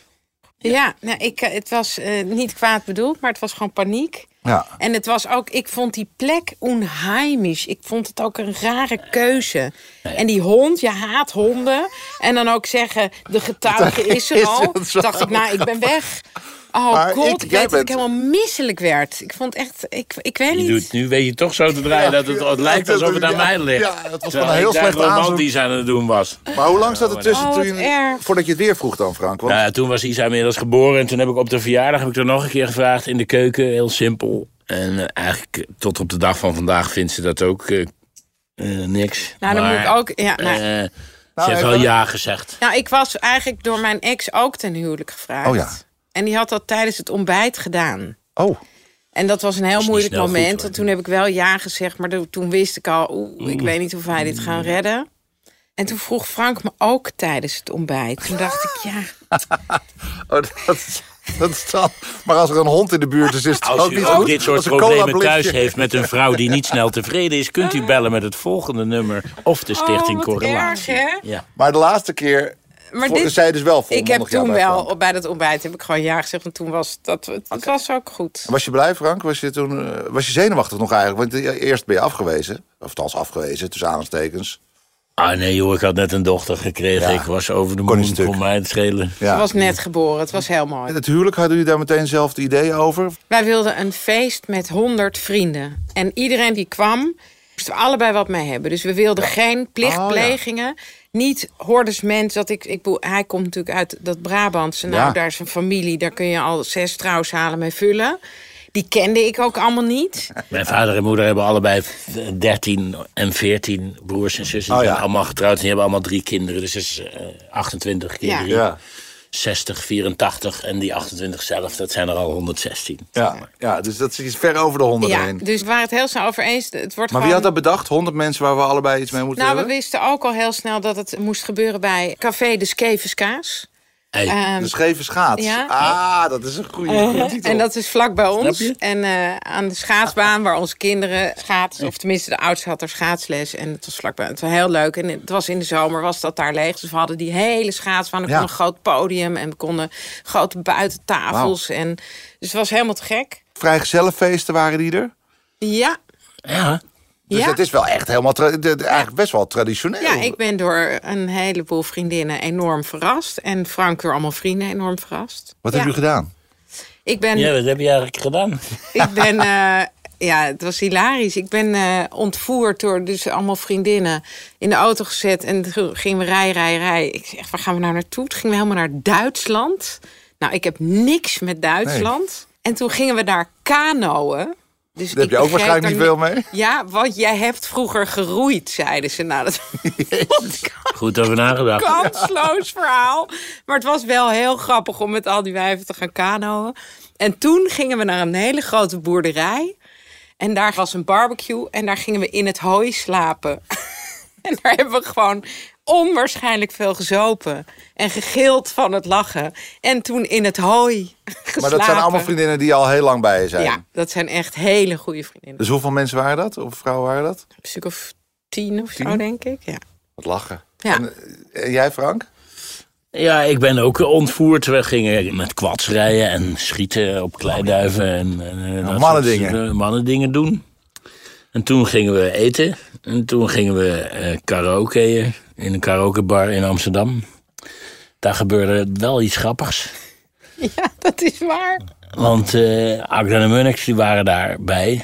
S2: Ja, nou, ik, eh, het was eh, niet kwaad bedoeld, maar het was gewoon paniek.
S4: Ja.
S2: En het was ook, ik vond die plek onheimisch. Ik vond het ook een rare keuze. En die hond, je haat honden. En dan ook zeggen, de getuige is er
S4: is
S2: al.
S4: het zo
S2: dacht ik, nou, ik ben weg. Oh
S4: Maar
S2: god,
S4: ik-
S2: ik,
S4: jij
S2: weet dat ik
S4: bent-
S2: helemaal misselijk werd. Ik vond echt, ik, ik weet
S3: Je
S2: niet.
S3: doet, nu weet je toch zo te draaien dat het, het lijkt alsof het aan
S4: Ja,
S3: mij ligt.
S4: ja, het
S3: Terwijl
S4: was gewoon een heel
S3: ik daar
S4: slecht aanzoek.
S3: romantisch aan het doen was.
S4: Maar hoe lang zat het tussen
S2: Oh, wat
S4: toen je-
S2: erg.
S4: voordat je het weer vroeg dan, Frank? Want
S3: Nou ja, toen was Isa inmiddels geboren en toen heb ik op de verjaardag heb ik er nog een keer gevraagd in de keuken, heel simpel. En eh, eigenlijk eh, tot op de dag van vandaag vindt ze dat ook eh, eh, niks.
S2: Nou, dan
S3: Maar,
S2: moet ik ook- ja, nou.
S3: eh, ze heeft
S4: ik
S3: wel
S4: wil-
S3: ja gezegd.
S2: Nou, ik was eigenlijk door mijn ex ook ten huwelijk gevraagd.
S4: Oh ja.
S2: En die had dat tijdens het ontbijt gedaan.
S4: Oh,
S2: En dat was een heel
S3: niet
S2: moeilijk
S3: snel
S2: moment.
S3: goed, hoor.
S2: want toen heb ik wel ja gezegd, maar do- toen wist ik al, oeh, ik weet niet of wij dit
S3: Mm.
S2: gaan redden. En toen vroeg Frank me ook tijdens het ontbijt. Toen dacht ik, ja,
S4: oh dat, is- dat is dan... Maar als er een hond in de buurt is, is het
S3: Als
S4: ook
S3: u
S4: niet
S3: ook
S4: goed.
S3: dit soort
S4: Als een
S3: problemen
S4: colablinkje.
S3: thuis heeft met een vrouw die niet snel tevreden is, kunt u bellen met het volgende nummer of de Stichting
S2: Ah. oh, wat
S3: Correlatie.
S2: erg, hè?
S3: ja.
S4: Maar de laatste keer
S2: Maar
S4: vo-
S2: dit-
S4: zei dus wel
S2: Ik
S4: volmondig
S2: heb
S4: ja
S2: toen
S4: bij
S2: wel,
S4: Frank.
S2: op- bij dat ontbijt heb ik gewoon ja gezegd. Want toen was dat, het was ook goed.
S4: Was je blij, Frank? Was je, toen, eh, was je zenuwachtig nog eigenlijk? Want eh, eerst ben je afgewezen. Of althans afgewezen, tussen aanstekens.
S3: Ah nee joh, ik had net een dochter gekregen.
S4: Ja.
S3: Ik was over de
S4: Kon niet
S3: moon,
S4: stuk.
S3: kon mij het schelen.
S2: Ze was net geboren, het was heel mooi.
S4: Het huwelijk, hadden jullie daar meteen zelf de ideeën over?
S2: Wij wilden een feest met 100 vrienden. En iedereen die kwam, moesten we allebei wat mee hebben. Dus we wilden
S4: Oh,
S2: geen plichtplegingen. Niet hoordesmens. Dat ik, ik, bedoel, hij komt natuurlijk uit dat Brabantse. Nou,
S4: Ja.
S2: daar is een familie. Daar kun je al zes trouwshalen mee vullen. Die kende ik ook allemaal niet.
S3: Mijn vader en moeder hebben allebei 13 en 14 broers en zussen. Die
S4: Oh ja.
S3: zijn allemaal getrouwd en die hebben allemaal drie kinderen. Dus dat is eh, 28 keer
S2: Ja.
S3: drie, 60, 84 en die 28 zelf. Dat zijn er al 116.
S4: Ja, ja, dus dat is ver over de honderd
S2: Ja,
S4: heen.
S2: dus we waren het heel snel over eens. Het wordt
S4: Maar
S2: gewoon...
S4: wie had dat bedacht? 100 mensen waar we allebei iets mee moeten
S2: Nou, we
S4: hebben?
S2: wisten ook al heel snel dat het moest gebeuren bij Café de Ehm, Skevenskaas.
S3: Hey,
S2: Eh,
S4: De Dus scheve schaats.
S2: Ja. Eh,
S4: Ah, dat is een goede titel.
S2: En dat is vlak bij ons.
S3: je?
S2: En eh, aan de schaatsbaan waar onze kinderen schaatsen. Of tenminste, de oudste had er schaatsles. En het was vlakbij. Het was heel leuk. En het was in de zomer, was dat daar leeg. Dus we hadden die hele schaatsbaan. We
S4: Ja.
S2: konden een groot podium. En we konden grote buitentafels. En, dus het was helemaal te gek.
S4: Vrijgezellenfeesten waren die er.
S2: Ja.
S3: ja,
S4: Dus
S2: ja.
S4: het is wel echt helemaal, tra- de- de- eigenlijk best wel traditioneel.
S2: Ja, ik ben door een heleboel vriendinnen enorm verrast. En Frank door allemaal vrienden enorm verrast.
S4: Wat
S2: ja.
S4: heb je gedaan?
S2: Ik ben
S3: ja, wat heb je eigenlijk gedaan?
S2: Ik ben, eh, ja, het was hilarisch. Ik ben eh, ontvoerd door dus allemaal vriendinnen in de auto gezet. En toen gingen we rij, rij, rij. Ik zeg, waar gaan we nou naartoe? Toen gingen we helemaal naar Duitsland. Nou, ik heb niks met Duitsland. En toen gingen we daar kanoën. Dus
S4: Daar heb
S2: ik
S4: je ook
S2: begreep
S4: waarschijnlijk
S2: daar
S4: niet
S2: ni-
S4: veel mee.
S2: Ja, want jij hebt vroeger geroeid, zeiden ze. Nou, dat vond ik
S3: Goed over nagedacht.
S2: kansloos verhaal. Maar het was wel heel grappig om met al die wijven te gaan kanoën. En toen gingen we naar een hele grote boerderij. En daar was een barbecue. En daar gingen we in het hooi slapen. en daar hebben we gewoon onwaarschijnlijk veel gezopen. En gegild van het lachen. En toen in het hooi geslapen.
S4: Maar dat zijn allemaal vriendinnen die al heel lang bij je zijn.
S2: Ja, dat zijn echt hele goede vriendinnen.
S4: Dus hoeveel mensen waren dat? Of vrouwen waren dat?
S2: Een stuk of tien of zo, denk ik. Ja.
S4: Wat lachen.
S2: Ja.
S4: En, eh, en jij, Frank?
S3: Ja, ik ben ook ontvoerd. We gingen met kwads rijden en schieten op kleiduiven en, en, eh, dat
S4: mannendingen.
S3: soort, eh, mannendingen doen. En toen gingen we eten. En toen gingen we eh karaokeën in een karaokebar in Amsterdam. Daar gebeurde wel iets grappigs.
S2: ja, dat is waar.
S3: Want eh Agda en Munnix die waren daarbij.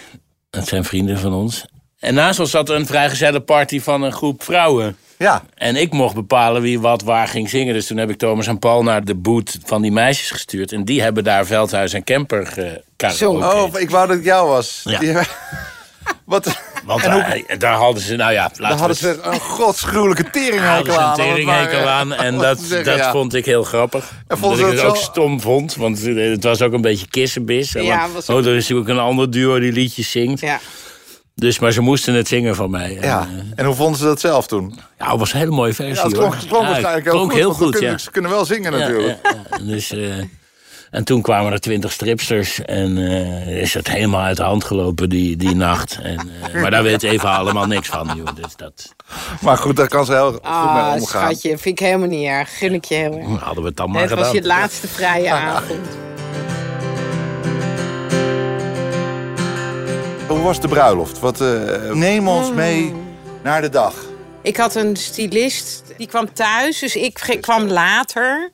S3: Dat zijn vrienden van ons. En naast ons zat een vrijgezelle party van een groep vrouwen.
S4: Ja.
S3: En ik mocht bepalen wie wat waar ging zingen. Dus toen heb ik Thomas en Paul naar de boot van die meisjes gestuurd. En die hebben daar Veldhuis en Kemper eh,
S2: Zo.
S3: gekaraoke.
S4: Oh, ik wou dat ik jou was.
S3: Ja.
S4: Die- Wat?
S3: Want
S4: en
S3: daar, daar hadden ze, nou ja,
S4: Dan
S3: laten
S4: hadden
S3: we
S4: ze een godsgruwelijke
S3: hadden
S4: teringhekel
S3: ze
S4: aan.
S3: een
S4: om het
S3: teringhekel
S4: maar, eh,
S3: aan. En
S4: om
S3: dat,
S4: te zeggen,
S3: dat
S4: ja.
S3: vond ik heel grappig.
S4: En vonden
S3: Omdat
S4: ze
S3: ik
S4: dat
S3: het ook
S4: zo-
S3: stom vond. Want het was ook een beetje kissenbis.
S2: Ja,
S3: Want,
S2: was ook-
S3: oh, er is ook een ander duo die liedjes zingt.
S2: Ja.
S3: Dus, maar ze moesten het zingen van mij. En,
S4: Ja.
S3: eh,
S4: En hoe vonden ze dat zelf toen?
S3: ja, het was een hele mooie versie.
S4: Ja, het klonk,
S3: hoor.
S4: het klonk
S3: Ja, het
S4: waarschijnlijk heel
S3: klonk
S4: goed.
S3: heel
S4: want we
S3: goed,
S4: kunnen,
S3: ja.
S4: Ze kunnen wel zingen natuurlijk.
S3: Ja, ja, ja. Dus, eh, en toen kwamen er twintig stripsters en eh, is het helemaal uit de hand gelopen die, die nacht. En, eh, maar daar weet Eva allemaal niks van, joh. Dus dat
S4: Maar goed, daar kan ze heel goed
S2: Ah,
S4: mee omgaan.
S2: schatje, vind ik helemaal niet erg. Gun ik je heel erg.
S3: hadden we het dan maar
S2: Het was
S3: gedaan.
S2: je laatste vrije avond.
S4: Hoe was de bruiloft? Wat, eh, neem
S2: Mm.
S4: ons mee naar de dag.
S2: Ik had een stylist, die kwam thuis, dus ik ge- kwam later.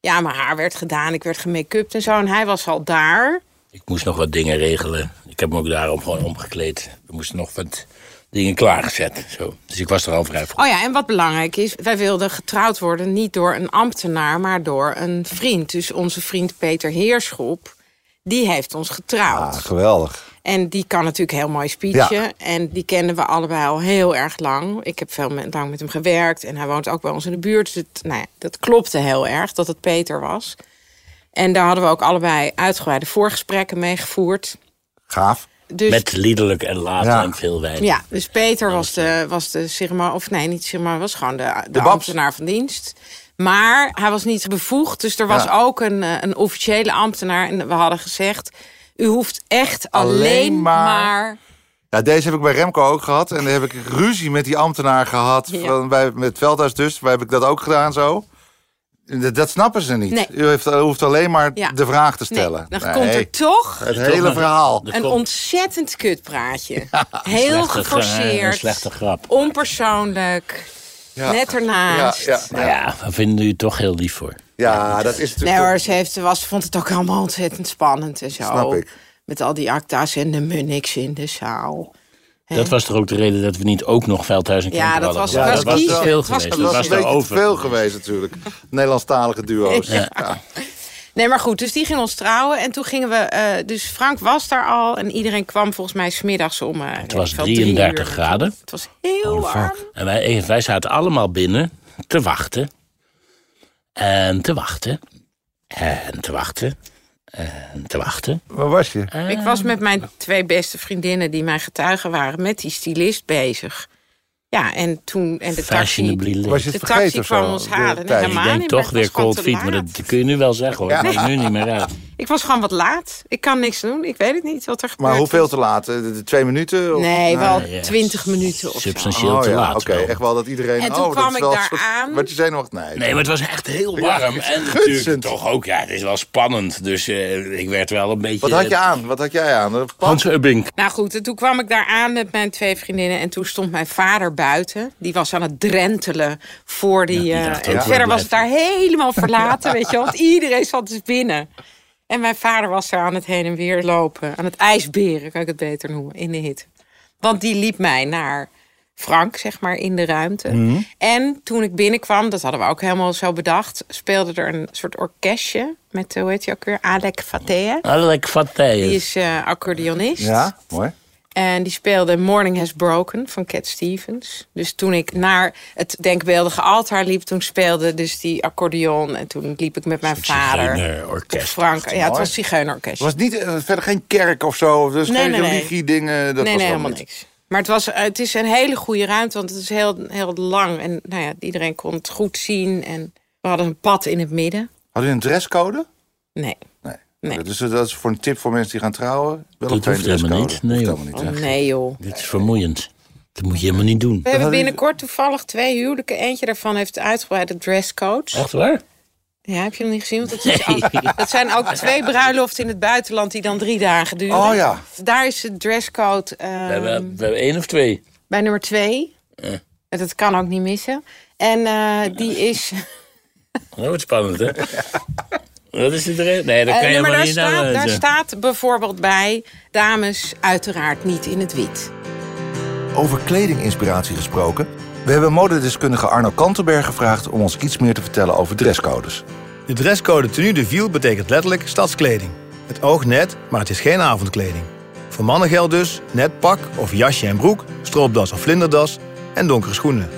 S2: Ja, mijn haar werd gedaan, ik werd gemake-upt en zo. En hij was al daar.
S3: Ik moest nog wat dingen regelen. Ik heb me ook daarom gewoon omgekleed. We moesten nog wat dingen klaargezet. Zo. Dus ik was er al vrij vroeg.
S2: Oh ja, en wat belangrijk is, wij wilden getrouwd worden niet door een ambtenaar, maar door een vriend. Dus onze vriend Peter Heerschop, die heeft ons getrouwd.
S4: geweldig.
S2: En die kan natuurlijk heel mooi speechen.
S4: Ja.
S2: En die kenden we allebei al heel erg lang. Ik heb veel met, lang met hem gewerkt. En hij woont ook bij ons in de buurt. Dus het, nou ja, dat klopte heel erg dat het Peter was. En daar hadden we ook allebei uitgebreide voorgesprekken mee gevoerd.
S4: Gaaf.
S2: Dus,
S3: Met liederlijk en laat
S4: Ja.
S3: en veel wijn.
S2: ja, dus Peter was de, was de ceremonie... Of nee, niet ceremonie, was gewoon de, de,
S4: De babs.
S2: ambtenaar van dienst. Maar hij was niet bevoegd. Dus er was
S4: Ja.
S2: ook een, eh, een officiële ambtenaar. En we hadden gezegd... U hoeft echt alleen,
S4: Alleen maar-
S2: maar
S4: Ja, deze heb ik bij Remco ook gehad. En daar heb ik ruzie met die ambtenaar gehad.
S2: Ja.
S4: Van, bij, met Veldhuis dus. Waar heb ik dat ook gedaan zo. Dat, dat snappen ze niet.
S2: Nee.
S4: U heeft, u hoeft alleen maar
S2: Ja.
S4: de vraag te
S2: Nee,
S4: stellen.
S2: dan
S4: Nee,
S2: komt er toch
S4: Het hele verhaal.
S2: een ontzettend kutpraatje. Heel
S3: Slechte gra- Een
S2: geforceerd.
S3: slechte grap.
S2: onpersoonlijk.
S4: Ja.
S2: Net ernaast.
S4: Ja, ja.
S3: Maar ja, we vinden u toch heel lief voor.
S4: Ja, dat is
S2: Nee
S4: natuurlijk...
S2: hoor, ze heeft, ze was, vond het ook allemaal ontzettend spannend en zo.
S4: Snap ik.
S2: Met al die acta's en de munniks in de zaal.
S3: Dat was toch ook de reden dat we niet ook nog Veldhuis en
S2: Ja,
S3: Kemper
S2: dat
S3: hadden
S2: was-
S3: gedaan.
S4: dat was
S3: te
S4: kiezen.
S3: veel
S2: Het was-
S3: geweest.
S4: Het
S2: dat
S4: was
S3: dat
S4: een
S3: was
S4: beetje te
S3: daarover.
S4: veel geweest natuurlijk. Nederlandstalige duo's.
S2: Ja. Nee, maar goed, dus die ging ons trouwen. En toen gingen we... eh, dus Frank was daar al en iedereen kwam volgens mij smiddags om... eh,
S3: Het was
S2: weet ik veel, drie
S3: 33
S2: uur.
S3: graden. Oh,
S2: Het was heel warm.
S3: En wij, wij zaten allemaal binnen te wachten. En te wachten. En te wachten. En te wachten.
S4: Waar was je?
S2: Ik was met mijn twee beste vriendinnen die mijn getuigen waren met die stylist bezig. Ja, en toen en de taxi.
S3: Fashionably late.
S4: Was je
S2: De
S4: het vergeten
S2: taxi
S4: of zo?
S2: kwam ons
S4: De
S2: halen.
S4: tijd.
S2: helemaal
S3: ik denk
S2: niet, maar
S3: toch
S2: het was
S3: weer
S2: gewoon
S3: cold
S2: te
S3: feet, maar
S2: laat.
S3: dat kun je nu wel zeggen hoor.
S4: Ja.
S3: Dat is nu niet meer uit.
S2: Ik was gewoon wat laat. Ik kan niks doen. Ik weet het niet wat er gebeurt.
S4: Maar hoeveel te laat? Eh, De, de twee minuten? Of- Oh,
S2: Nee, wel
S3: ja.
S2: twintig minuten of zo.
S3: Substantieel te
S4: ja,
S3: laat.
S4: Oké,
S3: wel.
S4: echt wel dat iedereen...
S2: En toen
S4: oh,
S2: kwam
S4: dat
S2: ik
S4: is wel
S2: daar
S4: een soort-
S2: aan.
S4: Werd je zenuwachtig? Nee.
S3: Nee, maar het was echt heel warm. en natuurlijk
S4: gutsend.
S3: toch ook, ja, het is wel spannend. Dus eh, ik werd wel een beetje... eh,
S4: Wat had je aan? Wat had jij aan? Een pan?
S3: Hans Ubbing.
S2: Nou goed, en toen kwam ik daar aan met mijn twee vriendinnen. En toen stond mijn vader buiten. Die was aan het drentelen voor die.
S3: die
S2: eh,
S3: dacht ook,
S2: en
S3: waar
S2: verder was het daar
S3: blijft
S2: helemaal verlaten, weet je wel. Want iedereen zat dus binnen. En mijn vader was daar aan het heen en weer lopen. Aan het ijsberen, kan ik het beter noemen, in de hitte. Want die liep mij naar Frank, zeg maar, in de ruimte. En toen ik binnenkwam, dat hadden we ook helemaal zo bedacht... speelde er een soort orkestje met, eh, hoe heet hij ook weer? Alec Fateh.
S3: Alec
S2: Die
S3: Fattee.
S2: is eh, accordeonist.
S4: Ja, mooi.
S2: En die speelde Morning Has Broken van Cat Stevens. Dus toen ik naar het denkbeeldige altaar liep, toen speelde dus die accordeon. En toen liep ik met mijn vader. Op
S3: orkest.
S2: Frank. Ja, het
S4: mooi.
S2: was zigeunorkest.
S4: Het was niet, eh, verder geen kerk of zo, dus
S2: Nee,
S4: geen
S2: nee, nee.
S4: religie-dingen. Dat
S2: nee,
S4: was
S2: nee,
S4: allemaal
S2: helemaal
S4: niet.
S2: niks. Maar het, was, eh, het is een hele goede ruimte, want het is heel, heel lang. En nou ja, iedereen kon het goed zien. En we hadden een pad in het midden.
S4: Had u een dresscode?
S2: Nee.
S4: Nee.
S2: Nee.
S4: Dus dat is voor een tip voor mensen die gaan trouwen. Wel
S3: Dat
S4: een
S3: hoeft helemaal niet. Nee, joh.
S2: Oh, nee, joh.
S3: Dit is vermoeiend. Dat moet je helemaal niet doen.
S2: We hebben binnenkort toevallig twee huwelijken. Eentje daarvan heeft uitgebreide dresscodes.
S3: Echt waar?
S2: Ja, heb je nog niet gezien? Want dat, is al- dat zijn ook twee bruiloften in het buitenland die dan drie dagen duren.
S4: Oh ja.
S2: Daar is de dresscode eh,
S3: We hebben, Eh. we hebben één of twee.
S2: bij nummer twee. En Dat kan ook niet missen. En eh, die is...
S3: Dat wordt spannend, hè? Dat is het erin. Nee, dat
S2: eh,
S3: kan je
S2: nee, maar daar
S3: helemaal niet aan
S2: staat, daar
S3: wijzen.
S2: staat bijvoorbeeld bij... dames uiteraard niet in het wit.
S5: Over kledinginspiratie gesproken.
S4: We hebben modedeskundige Arno Kantenberg gevraagd om ons iets meer te vertellen over dresscodes.
S1: De dresscode tenue de ville betekent letterlijk stadskleding. Het oog net, maar het is geen avondkleding. Voor mannen geldt dus net pak of jasje en broek, stroopdas of vlinderdas en donkere schoenen.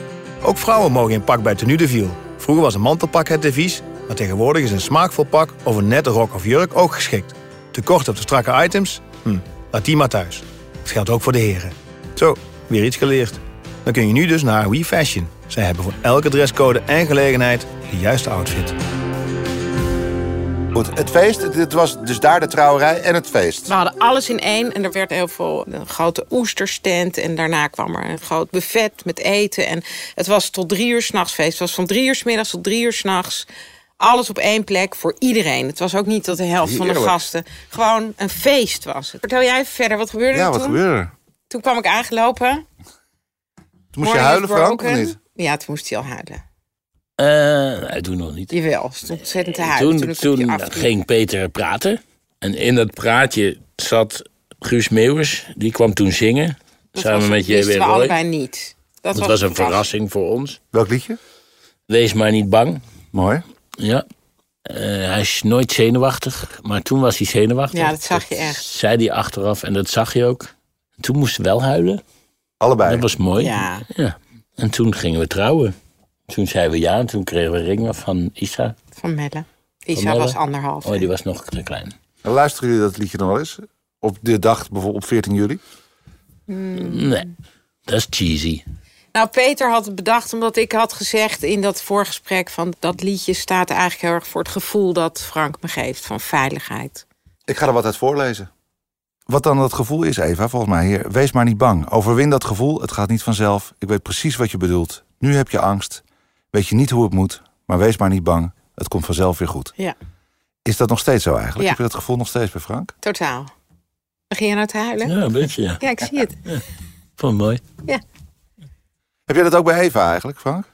S1: Ook vrouwen mogen in pak bij tenue de ville. Vroeger was een mantelpak het devies, maar tegenwoordig is een smaakvol pak of een nette rok of jurk ook geschikt. Tekort op de strakke items? Hm, laat die maar thuis. Dat geldt ook voor de heren. Zo, weer iets geleerd. Dan kun je nu dus naar We Fashion. Zij hebben voor elke dresscode en gelegenheid de juiste outfit.
S4: Goed, het feest, dit was dus daar de trouwerij en het feest.
S2: We hadden alles in één en er werd heel veel een grote oesterstand. En daarna kwam er een groot buffet met eten. En het was tot drie uur s'nachts feest. Het was van drie uur 's middags tot drie uur s'nachts. Alles op één plek voor iedereen. Het was ook niet dat de helft van de
S4: Heerlijk.
S2: gasten gewoon een feest was. Vertel jij even verder, wat gebeurde er
S4: ja, wat
S2: toen?
S4: gebeurde er?
S2: Toen kwam ik aangelopen.
S4: Toen moest je
S2: Morning
S4: huilen,
S2: is
S4: Frank, of
S2: broken.
S4: niet?
S2: Ja, toen moest hij al huilen.
S3: Eh, nou, toen nog niet.
S2: Jawel, ze stond ontzettend te huilen.
S3: Toen, toen ging Peter praten. En in dat praatje zat Guus Meeuwers. Die kwam toen zingen. samen met
S2: je
S3: J.W.
S2: wisten we
S3: Roy.
S2: allebei niet. Dat,
S3: Dat was een verrassing voor ons.
S4: Welk liedje?
S3: Wees maar niet bang.
S4: Mooi.
S3: Ja. Eh, hij is nooit zenuwachtig, maar toen was hij zenuwachtig.
S2: Ja, dat zag je echt.
S3: Zei hij achteraf en dat zag je ook. Toen moest ze wel huilen.
S4: Allebei.
S3: Dat was mooi.
S2: Ja.
S3: En toen gingen we trouwen. Toen zeiden we ja en toen kregen we een ring van Isa.
S2: Van Melle.
S3: Van
S2: Isa
S3: Melle.
S2: was anderhalf.
S3: Oh, die was nog te klein.
S4: En Luisteren jullie dat liedje dan wel eens? Op de dag, bijvoorbeeld op 14 juli?
S3: Nee, dat is cheesy.
S2: Nou, Peter had het bedacht omdat ik had gezegd in dat voorgesprek... van dat liedje staat eigenlijk heel erg voor het gevoel dat Frank me geeft van veiligheid.
S4: Ik ga er wat uit voorlezen. Wat dan dat gevoel is, Eva, volgens mij hier. Wees maar niet bang. Overwin dat gevoel. Het gaat niet vanzelf. Ik weet precies wat je bedoelt. Nu heb je angst. Weet je niet hoe het moet. Maar wees maar niet bang. Het komt vanzelf weer goed.
S2: Ja,
S4: Is dat nog steeds zo eigenlijk?
S2: Ja.
S4: Heb je dat gevoel nog steeds bij Frank?
S2: totaal. Begin je nou te huilen? Ja,
S3: Ja, een beetje, ja.
S2: ik zie het.
S3: Vond het mooi.
S4: Heb jij dat ook bij Eva eigenlijk, Frank?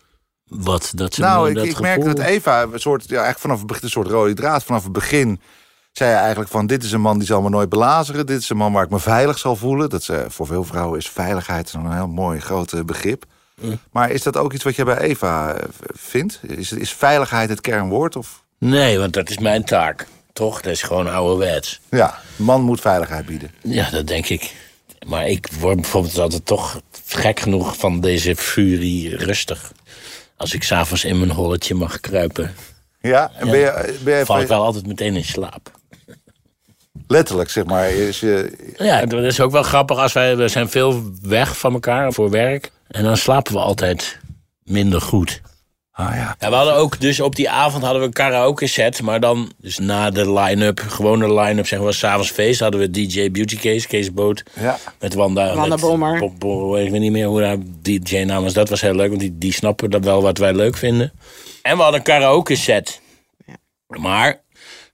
S3: Wat, dat ze
S4: nou,
S3: me
S4: ik,
S3: dat
S4: ik merk
S3: gevoel-
S4: dat Eva een soort, ja, eigenlijk vanaf het begin, een soort rode draad. Vanaf het begin zei hij eigenlijk van... dit is een man die zal me nooit belazeren. Dit is een man waar ik me veilig zal voelen. Dat is, eh, voor veel vrouwen is veiligheid een heel mooi groot eh, begrip. Maar is dat ook iets wat jij bij Eva eh, v- vindt? Is, is veiligheid het kernwoord? Of?
S3: Nee, want dat is mijn taak. Toch? Dat is gewoon ouderwets.
S4: Ja, een man moet veiligheid bieden.
S3: Ja, dat denk ik. Maar ik word bijvoorbeeld altijd toch gek genoeg van deze furie rustig. Als ik s'avonds in mijn holletje mag kruipen,
S4: Ja, en ben je, eh, ben je
S3: val ik wel altijd meteen in slaap.
S4: letterlijk, zeg maar. Is je,
S3: Ja, dat is ook wel grappig. Als wij, we zijn veel weg van elkaar voor werk. En dan slapen we altijd minder goed.
S4: ah ja.
S3: Ja, we hadden ook, dus op die avond hadden we een karaoke set. Maar dan, dus na de line-up, gewone line-up, zeggen we, s'avonds feest, hadden we DJ Beauty Case, Kees Boot.
S4: Ja.
S3: Met Wanda.
S2: Wanda
S3: met
S2: Bommer.
S3: Bob- Bob- ik weet niet meer hoe haar DJ-naam was. Dat was heel leuk, want die, die snappen dat wel wat wij leuk vinden. En we hadden een karaoke set. Maar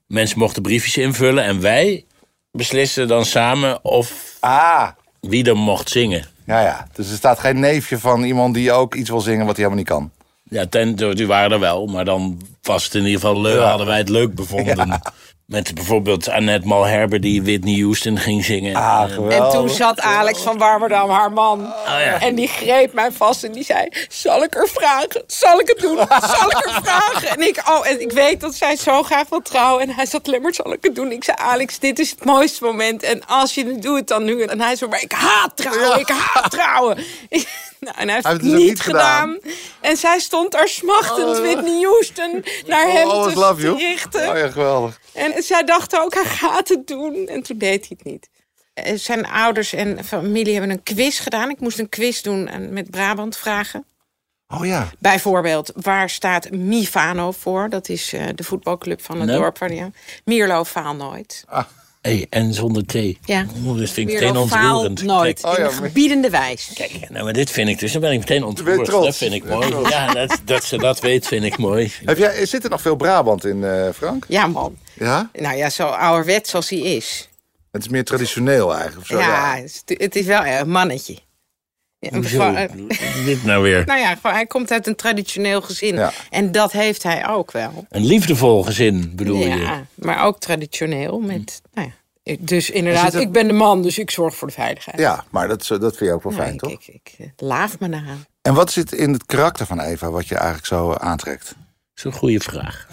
S3: mensen mochten briefjes invullen en wij beslisten dan samen of
S4: Ah,
S3: wie er mocht zingen.
S4: ja, ja. Dus er staat geen neefje van iemand die ook iets wil zingen wat hij helemaal niet kan.
S3: Ja, ten, die waren er wel, maar dan was het in ieder geval leuk. Hadden wij het leuk bevonden. Met bijvoorbeeld Annette Malherbe die Whitney Houston ging zingen.
S4: Ah,
S2: En
S4: geweldig. Oh,
S2: toen zat Alex van Warmerdam, haar man.
S3: ja.
S2: En die greep mij vast en die zei: Zal ik er vragen? Zal ik het doen? Zal ik er vragen? En ik, oh, en ik weet dat zij zo graag wil trouwen. En hij zat alleen maar: Zal ik het doen? Ik zei: Alex, dit is het mooiste moment. En als je het doet, doe het dan nu. En hij zei: Maar ik haat trouwen, ik haat trouwen. Nou, en hij heeft
S4: Hij
S2: het
S4: heeft het dus ook
S2: niet,
S4: niet gedaan.
S2: gedaan. En zij stond daar smachtend, Whitney Houston, naar hem
S4: Always
S2: te
S4: Oh, love you.
S2: richten.
S4: Oh ja, geweldig.
S2: En zij dacht ook, hij gaat het doen. En toen deed hij het niet. Eh, Zijn ouders en familie hebben een quiz gedaan. Ik moest een quiz doen en met Brabant vragen.
S4: Oh ja.
S2: Bijvoorbeeld, waar staat Mifano voor? Dat is eh, de voetbalclub van het
S3: Nou.
S2: dorp. Waar die, Mierlo faal nooit.
S3: Hey, en zonder thee.
S2: Ja.
S3: Oh, dit vind ik meteen
S2: Mierlo faal
S3: ontroerend.
S2: nooit.
S4: Oh ja,
S2: in
S4: maar-
S2: gebiedende wijs.
S3: Kijk, kijk, nou, maar dit vind ik dus, dan ben ik meteen ontroerd.
S4: trots.
S3: Dat vind ik mooi. Ja, dat, dat ze dat weet, vind ik mooi.
S4: Heb jij, zit er nog veel Brabant in, eh, Frank?
S2: Ja, man.
S4: Ja.
S2: Nou ja, zo ouderwets als hij is.
S4: Het is meer traditioneel eigenlijk. of Zo,
S2: ja,
S4: Oh ja.
S2: het is- het is wel eh, een mannetje. Ja, een
S3: Hoezo?
S2: geval- eh,
S3: Dit nou weer.
S2: nou ja, gewoon, hij komt uit een traditioneel gezin.
S4: Ja.
S2: En dat heeft hij ook wel.
S3: Een liefdevol gezin, bedoel je?
S2: Ja, maar ook traditioneel. Met,
S4: Hm.
S2: nou ja, ik- dus inderdaad,
S4: zit er-
S2: ik ben de man, dus ik zorg voor de veiligheid.
S4: ja, maar dat, is- eh, dat vind je ook wel
S2: Nou,
S4: fijn,
S2: ik,
S4: toch?
S2: Ik, ik, eh, laaf me naar aan.
S4: En wat zit in het karakter van Eva wat je eigenlijk zo eh, aantrekt?
S3: Zo'n goede vraag.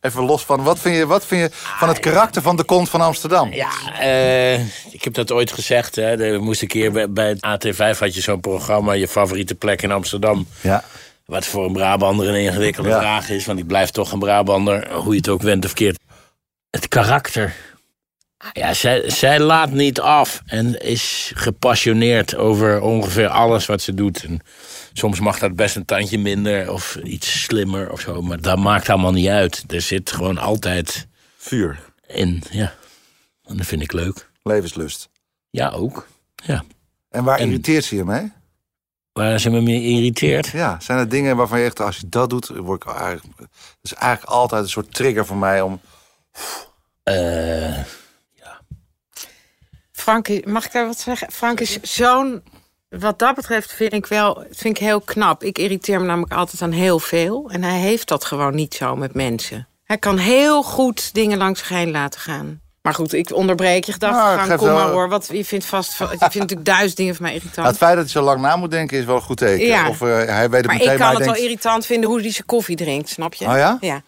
S4: Even los van, wat vind je, wat vind je van
S2: Ah,
S4: het karakter van de kont van Amsterdam?
S3: Ja, eh, ik heb dat ooit gezegd. Hè. Er moest een keer bij, bij het AT5 had je zo'n programma, je favoriete plek in Amsterdam.
S4: Ja.
S3: Wat voor een Brabander een ingewikkelde
S4: Ja.
S3: vraag is, want die blijft toch een Brabander, hoe je het ook went of keert. Het karakter. Ja, zij, zij laat niet af en is gepassioneerd over ongeveer alles wat ze doet. En soms mag dat best een tandje minder of iets slimmer of zo, maar dat maakt allemaal niet uit. Er zit gewoon altijd
S4: Vuur.
S3: in, ja. En dat vind ik leuk.
S4: Levenslust.
S3: Ja, ook. Ja.
S4: En waar
S3: En-
S4: irriteert ze je mee?
S3: Waar ze me meer irriteert.
S4: Ja, zijn er dingen waarvan je echt, als je dat doet, word ik eigenlijk... Dat is eigenlijk altijd een soort trigger voor mij om...
S3: Eh,
S2: Frank, is- mag ik daar wat zeggen? Frank is zo'n. Wat dat betreft vind ik wel vind ik heel knap. Ik irriteer me namelijk altijd aan heel veel. En hij heeft dat gewoon niet zo met mensen. Hij kan heel goed dingen langs zich heen laten gaan. Maar goed, ik onderbreek je gedachten.
S4: Nou, ik
S2: Frank,
S4: geef
S2: kom
S4: wel-
S2: maar hoor. Wat, je vindt vast. Je vindt natuurlijk duizend dingen van mij
S4: Nou, het
S2: irritant.
S4: feit dat hij zo lang na moet denken is wel een goed teken.
S2: Ja.
S4: Of eh, hij weet het
S2: Maar
S4: meteen,
S2: ik
S4: maar
S2: kan
S4: hij
S2: het wel
S4: denkt...
S2: irritant vinden hoe hij zijn koffie drinkt, snap je?
S4: Oh ja?
S2: Ja.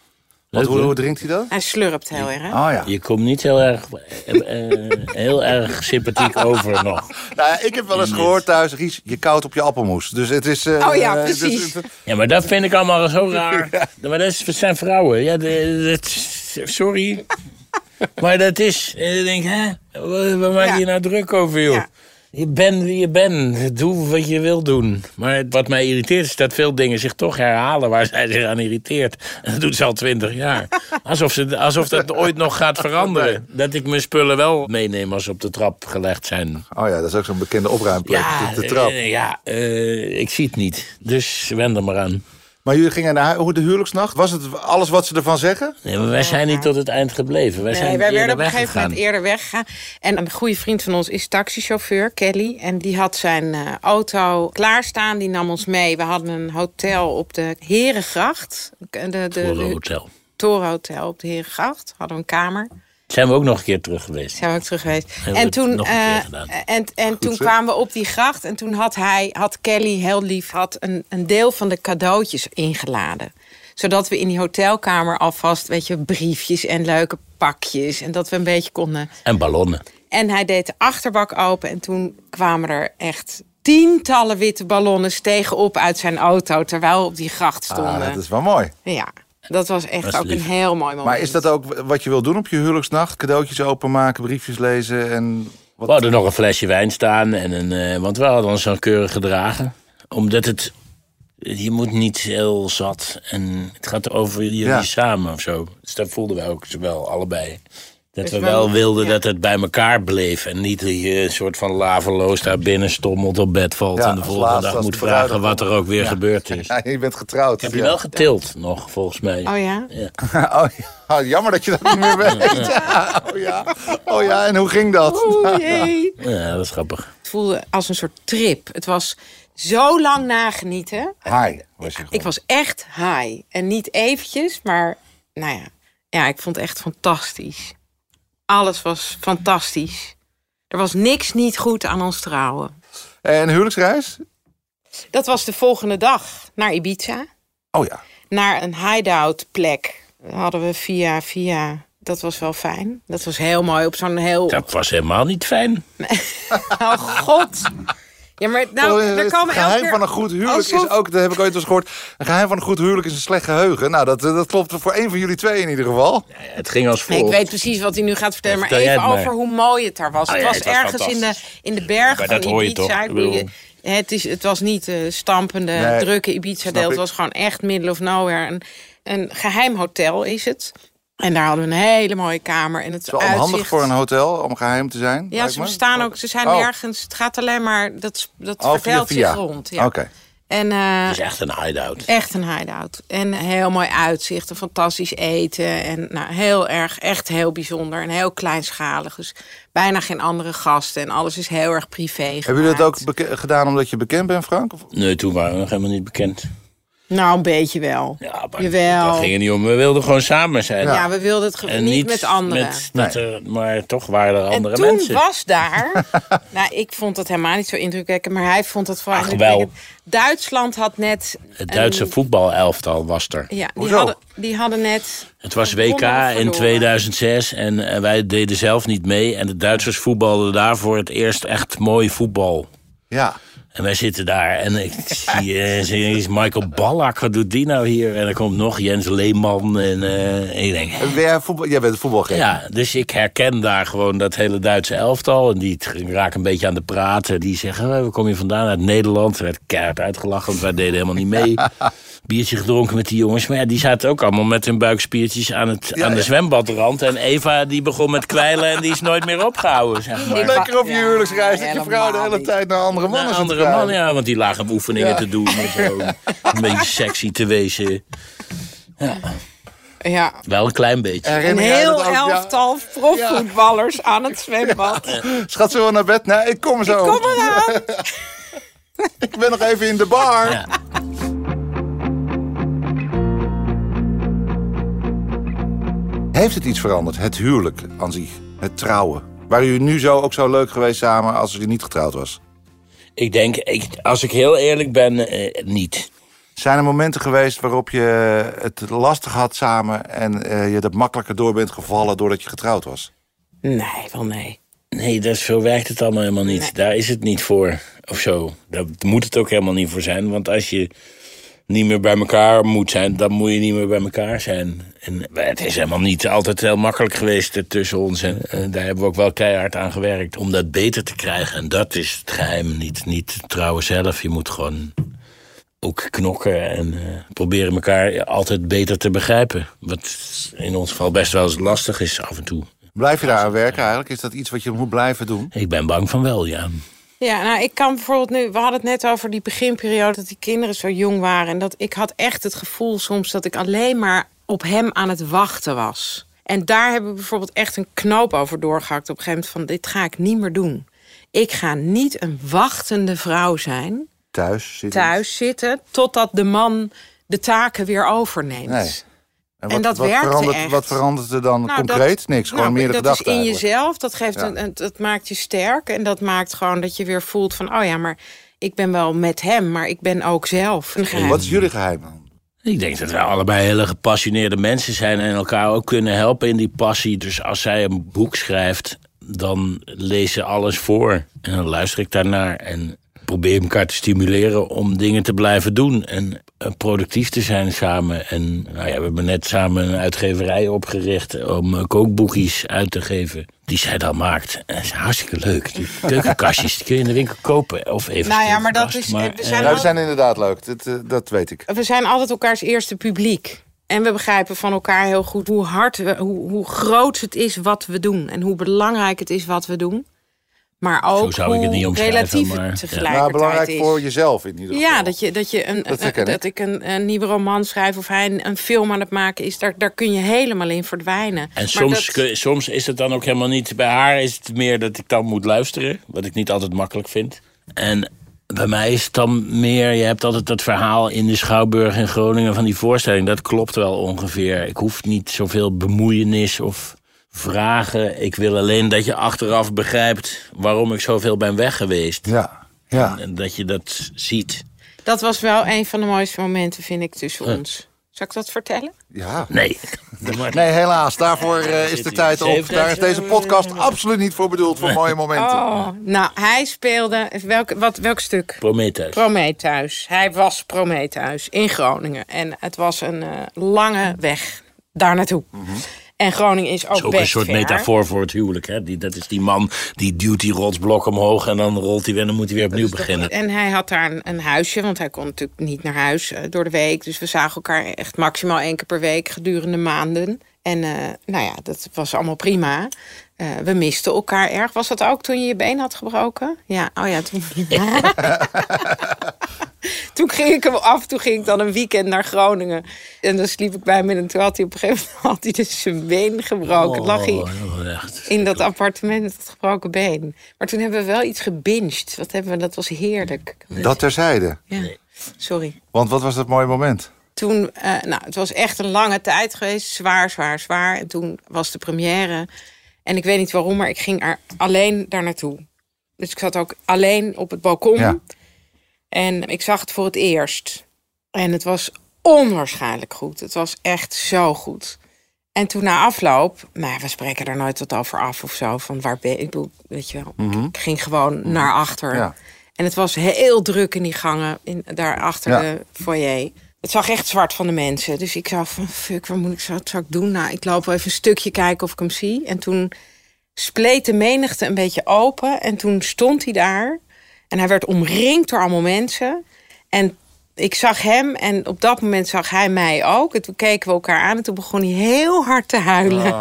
S4: Want hoe,
S3: leuk,
S4: hoe drinkt hij dat?
S2: Hij slurpt heel erg.
S4: Oh ja.
S3: Je komt niet heel erg, eh, eh, heel erg sympathiek over nog.
S4: Nou, ja, ik heb wel eens gehoord thuis, Ries, je koud op je appelmoes. Dus het is... eh,
S2: Oh ja,
S4: eh,
S2: precies.
S4: dus-
S3: Ja, maar dat vind ik allemaal zo raar. Maar dat is, het zijn vrouwen. Ja, de- dat is- sorry. Maar dat is... eh, Ik denk, hè? Waar waar maak je
S2: Ja.
S3: je nou druk over, joh?
S2: Ja.
S3: Je bent wie je bent. Doe wat je wil doen. Maar wat mij irriteert is dat veel dingen zich toch herhalen... waar zij zich aan irriteert. En dat doet ze al twintig jaar. Alsof, ze, alsof dat ooit nog gaat veranderen. Dat ik mijn spullen wel meeneem als ze op de trap gelegd zijn.
S4: Oh ja, dat is ook zo'n bekende opruimplek,
S3: Ja,
S4: de, de trap.
S3: eh, ja eh, ik zie het niet. Dus wend er maar aan.
S4: Maar jullie gingen naar hu- hoe de huwelijksnacht. Was het alles wat ze ervan zeggen?
S3: Nee, maar wij zijn niet tot het eind gebleven. Wij
S2: Nee,
S3: zijn
S2: Eh, wij werden
S3: eerder
S2: op een gegeven
S3: weggegaan.
S2: moment eerder weggegaan. En een goede vriend van ons is taxichauffeur, Kelly. En die had zijn eh, auto klaarstaan. Die nam ons mee. We hadden een hotel op de Herengracht. De, de,
S3: Voor het
S2: de-
S3: hotel.
S2: Torenhotel op de Herengracht. Hadden we een kamer.
S3: Zijn we ook nog een keer terug geweest.
S2: Zijn we ook terug geweest.
S3: we
S2: en
S3: het
S2: toen,
S3: nog een keer
S2: eh,
S3: gedaan.
S2: en, en toen kwamen we op die gracht. En toen had hij, had Kelly heel lief, had een, een deel van de cadeautjes ingeladen. Zodat we in die hotelkamer alvast, weet je, briefjes en leuke pakjes. En dat we een beetje konden.
S3: En ballonnen.
S2: En hij deed de achterbak open. En toen kwamen er echt tientallen witte ballonnen stegen op uit zijn auto. Terwijl we op die gracht
S4: Ah,
S2: stonden.
S4: dat is wel mooi.
S2: Ja, dat was echt
S3: Dat is
S2: ook
S3: lief.
S2: een heel mooi moment.
S4: Maar is dat ook wat je wil doen op je huwelijksnacht? Cadeautjes openmaken, briefjes lezen en... Wat...
S3: We hadden nog een flesje wijn staan. En een, eh, want we hadden ons dan keurig gedragen. Omdat het... Je moet niet heel zat. En het gaat over jullie
S4: Ja.
S3: samen of zo. Dus dat voelden wij ook wel allebei. Dat
S2: Dus
S3: we
S2: wel-
S3: wel wilden
S2: ja.
S3: dat het bij elkaar bleef. En niet dat je een soort van laveloos daar binnen stommelt op bed valt.
S4: Ja,
S3: en de
S4: als
S3: volgende
S4: laatste,
S3: dag
S4: als
S3: moet
S4: het bruiloft
S3: vragen wat er ook weer gebeurd is.
S4: Ja, je bent getrouwd.
S3: Heb je
S4: Ja.
S3: wel getild nog, volgens mij.
S2: Oh ja?
S4: Oh, ja. Oh, jammer dat je dat niet meer weet. Ja, Oh ja. Oh ja, en hoe ging dat?
S2: Oeh, jee.
S3: Ja, dat is grappig.
S2: Het voelde als een soort trip. Het was zo lang nagenieten.
S4: Hi, was je
S2: Ik
S4: gewoon.
S2: was echt high. En niet eventjes, maar nou ja. Ja, ik vond het echt fantastisch. Alles was fantastisch. Er was niks niet goed aan ons trouwen.
S4: En huwelijksreis?
S2: Dat was de volgende dag naar Ibiza.
S4: Oh ja.
S2: Naar een hideout plek. Hadden we via, via. Dat was wel fijn. Dat was heel mooi op zo'n heel.
S3: Dat was helemaal niet fijn.
S2: Oh god. Ja, maar nou,
S4: Oh,
S2: er
S4: het
S2: komen elke
S4: geheim
S2: keer
S4: van een goed huwelijk is
S2: alsof-
S4: ook, dat heb ik ooit eens gehoord, een geheim van een goed huwelijk is een slecht geheugen. Nou, dat, dat klopt voor één van jullie twee in ieder geval.
S3: Ja, het ging als
S2: Nee,
S3: volgt.
S2: ik weet precies wat hij nu gaat vertellen, maar
S3: Vertel jij
S2: even
S3: het maar.
S2: over hoe mooi het daar was.
S3: Ah
S2: het
S3: ja,
S2: was
S3: het was
S2: ergens in de,
S3: fantastisch.
S2: in de bergen
S3: Maar
S2: van
S3: dat hoor je
S2: Ibiza.
S3: toch?
S2: Ik bedoel,
S3: Ik
S2: het, is, het was niet eh, stampende,
S4: Nee,
S2: drukke Ibiza-deel.
S4: ik.
S2: Het was gewoon echt middle of nowhere. Een, een geheim hotel is het. En daar hadden we een hele mooie kamer. En het
S4: Het is wel onhandig
S2: uitzicht...
S4: voor een hotel om geheim te zijn.
S2: Ja,
S4: lijkt
S2: ze
S4: me.
S2: bestaan ook. Ze zijn
S4: Oh.
S2: nergens. Het gaat alleen maar... Dat, dat
S4: Oh, via-
S2: vertelt
S4: via.
S2: zich rond. Ja.
S4: Oké. Dus
S2: En, eh,
S3: Het is echt een hideout.
S2: Echt een hideout. En heel mooi uitzicht, een fantastisch eten. En nou, heel erg, echt heel bijzonder. En heel kleinschalig. Dus bijna geen andere gasten. En alles is heel erg privé.
S4: Hebben jullie dat ook beke- gedaan omdat je bekend bent, Frank? Of-
S3: Nee, toen waren we nog helemaal niet bekend.
S2: Nou, een beetje wel.
S3: Ja, maar
S2: Jawel.
S3: dat ging er niet om. We wilden gewoon samen zijn.
S2: Ja, we wilden het ge-
S3: En
S2: niet met anderen.
S3: met- met er- maar toch waren er andere
S2: en toen
S3: mensen.
S2: was daar... nou, ik vond dat helemaal niet zo indrukwekkend. Maar hij vond het vooral
S3: Ach, wel.
S2: indrukwekkend. Duitsland had net...
S3: Het Duitse voetbalelftal was er.
S2: Ja, die
S4: Hoezo?
S2: hadden, die hadden net...
S3: Het was
S2: Wonnen
S3: WK
S2: of
S3: in
S2: verloren?
S3: 2006 en eh, wij deden zelf niet mee. En de Duitsers voetbalden daar voor het eerst echt mooi voetbal.
S4: Ja.
S3: En wij zitten daar en ik zie eh, zie ineens Michael Ballack, wat doet die nou hier? En er komt nog Jens Leeman en, eh, en ik denk...
S4: En ben jij, voetbal, jij bent voetbalgek.
S3: Ja, dus ik herken daar gewoon dat hele Duitse elftal. En die t- raken een beetje aan de praten. Die zeggen, "Hé, waar kom je vandaan? Uit Nederland. Er werd keihard uitgelachen, want wij deden helemaal niet mee. Biertje gedronken met die jongens. Maar ja, die zaten ook allemaal met hun buikspiertjes aan, het, aan de zwembadrand. En Eva die begon met kwijlen en die is nooit meer opgehouden, zeg maar.
S4: Lekker op je
S2: Ja,
S4: huwelijksreis dat je vrouw de
S2: helemaal
S4: hele
S2: niet.
S4: tijd naar andere mannen
S3: Naar
S4: zit te
S3: andere man,
S4: kijken.
S3: ja, want die lagen oefeningen te doen en zo. Een beetje sexy te wezen.
S2: Ja.
S3: Wel een klein beetje.
S2: Een
S4: Herinner jij dat
S2: heel
S4: ook? Ja.
S2: elftal profvoetballers aan het zwembad.
S4: Schat, zullen we naar bed? Nee, ik kom er zo.
S2: Kom eraan.
S4: Ik ben nog even in de bar.
S3: Ja.
S4: Heeft het iets veranderd? Het huwelijk aan zich. Het trouwen. Waren jullie nu zo ook zo leuk geweest samen als je niet getrouwd was?
S3: Ik denk, ik, als ik heel eerlijk ben, eh, niet.
S4: Zijn er momenten geweest waarop je het lastig had samen en eh, je er makkelijker door bent gevallen doordat je getrouwd was?
S2: Nee, wel nee.
S3: Nee, dat, is- zo werkt het allemaal helemaal niet. Daar is het niet voor, of zo. Daar moet het ook helemaal niet voor zijn. Want als je niet meer bij elkaar moet zijn, dan moet je niet meer bij elkaar zijn. En het is helemaal niet altijd heel makkelijk geweest eh, tussen ons. En eh, daar hebben we ook wel keihard aan gewerkt om dat beter te krijgen. En dat is het geheim, niet, niet trouwen zelf. Je moet gewoon ook knokken en eh, proberen elkaar altijd beter te begrijpen. Wat in ons geval best wel eens lastig is af en toe.
S4: Blijf je daar aan werken eigenlijk? Is dat iets wat je moet blijven doen?
S3: Ik ben bang van wel, ja.
S2: Ja, nou, ik kan bijvoorbeeld nu. We hadden het net over die beginperiode dat die kinderen zo jong waren. En dat ik had echt het gevoel soms dat ik alleen maar op hem aan het wachten was. En daar hebben we bijvoorbeeld echt een knoop over doorgehakt op een gegeven moment: van dit ga ik niet meer doen. Ik ga niet een wachtende vrouw zijn,
S4: Thuis zitten.
S2: thuis zitten, totdat de man de taken weer overneemt.
S4: Nee.
S2: en dat
S4: wat
S2: werkte
S4: verandert,
S2: echt.
S4: Wat verandert er dan
S2: Nou,
S4: concreet?
S2: dat-
S4: Niks, gewoon
S2: nou,
S4: meer de
S2: dat
S4: gedachten
S2: is in
S4: eigenlijk.
S2: jezelf, dat, geeft
S4: Ja.
S2: een, een- dat maakt je sterk. En dat maakt gewoon dat je weer voelt van... oh ja, maar ik ben wel met hem, maar ik ben ook zelf een geheim.
S4: Wat is jullie geheim dan?
S3: Ik denk dat we allebei hele gepassioneerde mensen zijn en elkaar ook kunnen helpen in die passie. Dus als zij een boek schrijft, dan lees ze alles voor. En dan luister ik daarnaar en probeer elkaar te stimuleren om dingen te blijven doen. En eh, productief te zijn samen. En nou ja, we hebben net samen een uitgeverij opgericht om eh, kookboekjes uit te geven. Die zij dan maakt. En dat is hartstikke leuk. Die keukenkastjes die kun je in de winkel kopen. Of even
S2: Nou ja, maar dat
S3: kast,
S2: is- we
S3: eh,
S2: zijn
S4: Nou, we zijn inderdaad leuk, dat, eh, dat weet ik.
S2: We zijn altijd elkaars eerste publiek. En we begrijpen van elkaar heel goed hoe hard, we, hoe, hoe groot het is wat we doen. En hoe belangrijk het is wat we doen. Maar ook
S3: zou ik
S2: hoe
S3: het niet omschrijven,
S2: relatief
S3: maar-
S2: het
S3: Ja.
S2: tegelijkertijd
S4: Nou, belangrijk
S2: is.
S4: voor jezelf in ieder geval.
S2: Ja, dat, je, dat, je een,
S4: Dat
S2: dat,
S4: herken ik.
S2: dat ik een, een nieuwe roman schrijf of hij een, een film aan het maken is, daar, daar kun je helemaal in verdwijnen.
S3: En
S2: Maar
S3: soms,
S2: dat-
S3: kun- soms is het dan ook helemaal niet. Bij haar is het meer dat ik dan moet luisteren, wat ik niet altijd makkelijk vind. En bij mij is het dan meer. Je hebt altijd dat verhaal in de Schouwburg in Groningen van die voorstelling. Dat klopt wel ongeveer. Ik hoef niet zoveel bemoeienis of vragen. Ik wil alleen dat je achteraf begrijpt waarom ik zoveel ben weg geweest.
S4: Ja, ja.
S3: En dat je dat ziet.
S2: dat was wel een van de mooiste momenten, vind ik, tussen ons. Zal ik dat vertellen?
S4: ja.
S3: Nee.
S4: Nee, helaas. Daarvoor eh, is de
S3: Zit-
S4: tijd op.
S3: zit-
S4: Daar is deze podcast absoluut niet voor bedoeld, voor mooie momenten.
S2: Oh, nou, hij speelde. Welk, wat, welk stuk?
S3: Prometheus.
S2: Prometheus. Hij was Prometheus in Groningen. En het was een eh, lange weg daar naartoe. En Groningen is ook,
S3: Mhm. is ook
S2: best
S3: een soort
S2: ver.
S3: metafoor voor het huwelijk. Hè? Die, dat is die man die duwt die rotsblok omhoog en dan rolt hij weer en dan moet hij weer opnieuw beginnen.
S2: En hij had daar een, een huisje, want hij kon natuurlijk niet naar huis eh, door de week. Dus we zagen elkaar echt maximaal één keer per week gedurende maanden. En eh, nou ja, dat was allemaal prima. Eh, we misten elkaar erg. Was dat ook toen je je been had gebroken? Ja, oh ja, toen. toen ging ik hem af, toen ging ik dan een weekend naar Groningen. En dan sliep ik bij hem in en toen had hij op een gegeven moment had hij dus zijn been gebroken. lag hij
S3: Oh, echt.
S2: in dat appartement met dat gebroken been. Maar toen hebben we wel iets gebinged. Wat hebben we? Dat was heerlijk.
S4: Dat terzijde.
S2: Ja. Sorry.
S4: Want wat was dat mooie moment?
S2: Toen, eh, nou, het was echt een lange tijd geweest. Zwaar, zwaar, zwaar. En toen was de première. En ik weet niet waarom, maar ik ging er alleen daar naartoe. Dus ik zat ook alleen op het balkon.
S4: Ja.
S2: En ik zag het voor het eerst. En het was onwaarschijnlijk goed. Het was echt zo goed. En toen na afloop, maar we spreken daar nooit wat over af of zo. Van waar ben ik? bedoel, Weet je wel. Ik ging gewoon naar achter.
S4: Mhm. Ja.
S2: En het was heel druk in die gangen, in, daarachter Eh,
S4: Ja.
S2: de foyer. Het zag echt zwart van de mensen. Dus ik zou van, fuck, wat moet ik, wat zou ik doen? Nou, ik loop wel even een stukje kijken of ik hem zie. En toen spleet de menigte een beetje open. En toen stond hij daar. En hij werd omringd door allemaal mensen. En ik zag hem en op dat moment zag hij mij ook. En toen keken we elkaar aan en toen begon hij heel hard te huilen.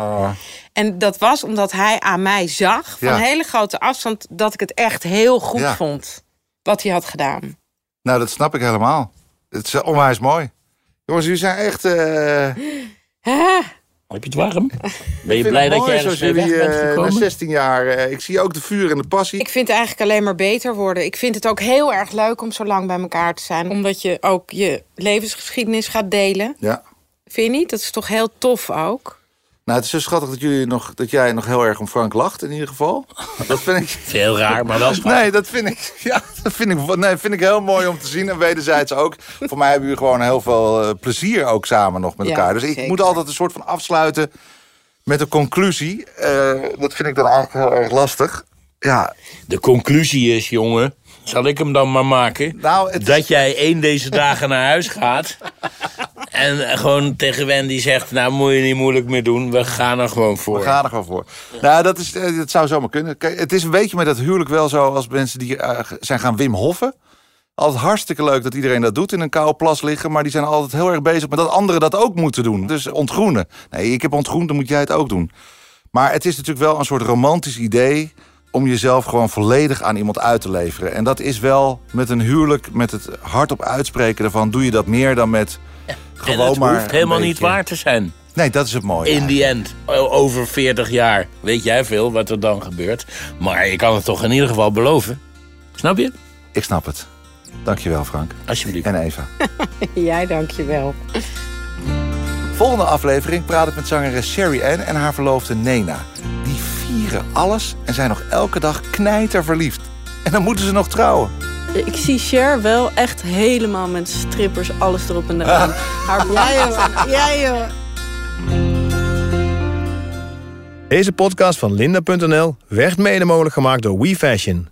S2: En dat was omdat hij aan mij zag, van
S4: Ah. Ja.
S2: hele grote afstand... dat ik het echt heel goed
S4: Ja.
S2: vond wat hij had gedaan.
S4: Nou, dat snap ik helemaal. Het is eh, onwijs mooi. Jongens, jullie zijn echt... eh,
S2: Ah,
S3: Heb je het warm? Ben je
S4: Ik
S3: blij
S4: vind het
S3: dat je
S4: mooi
S3: ergens
S4: zoals
S3: mee
S4: jullie
S3: weg bent
S4: eh, na
S3: gekomen?
S4: 16 jaar. eh, ik zie ook de vuur en de passie.
S2: ik vind het eigenlijk alleen maar beter worden. Ik vind het ook heel erg leuk om zo lang bij elkaar te zijn. Omdat je ook je levensgeschiedenis gaat delen.
S4: Ja.
S2: Vind je niet? Dat is toch heel tof ook?
S4: Nou, het is zo schattig dat, jullie nog, dat jij nog heel erg om Frank lacht, in ieder geval. Dat vind ik.
S3: Veel raar, maar wel schattig.
S4: Nee, dat vind ik. Ja, dat vind ik, nee, vind ik heel mooi om te zien. En wederzijds ook. Voor mij hebben jullie gewoon heel veel eh, plezier ook samen nog met
S2: Ja,
S4: elkaar. Dus ik
S2: zeker.
S4: moet altijd een soort van afsluiten met een conclusie. Eh, dat vind ik dan eigenlijk heel erg lastig. Ja,
S3: De conclusie is, jongen, zal ik hem dan maar maken?
S4: nou, het,
S3: Dat jij één deze dagen naar huis gaat. En gewoon tegen Wendy zegt: Nou, moet je niet moeilijk meer doen. We gaan er gewoon voor.
S4: We gaan er gewoon voor. Nou, dat, is, eh, dat zou zomaar kunnen. Kijk, het is een beetje met dat huwelijk wel zo als mensen die eh, zijn gaan Wim Hoffen. Altijd hartstikke leuk dat iedereen dat doet in een koude plas liggen. Maar die zijn altijd heel erg bezig met dat anderen dat ook moeten doen. Dus ontgroenen. Nee, ik heb ontgroend, dan moet jij het ook doen. Maar het is natuurlijk wel een soort romantisch idee om jezelf gewoon volledig aan iemand uit te leveren. En dat is wel met een huwelijk, met het hardop uitspreken daarvan, doe je dat meer dan met
S3: en
S4: gewoon
S3: het
S4: maar.
S3: hoeft
S4: een
S3: helemaal niet
S4: beetje-
S3: waar te zijn.
S4: Nee, dat is het mooie.
S3: In the end, o- over 40 jaar, weet jij veel wat er dan gebeurt. Maar je kan het toch in ieder geval beloven. Snap je?
S4: Ik snap het. Dankjewel, Frank.
S3: Alsjeblieft.
S4: En Eva.
S2: Jij dankjewel.
S4: Volgende aflevering praat ik met zangeres Sherry Ann en haar verloofde Nena. Die vieren alles en zijn nog elke dag knijterverliefd. En dan moeten ze nog trouwen.
S6: Ik zie Cher wel echt helemaal met strippers, alles erop en eraan. Haar ja, ja, joh.
S1: Deze podcast van Linda.nl werd mede mogelijk gemaakt door WeFashion.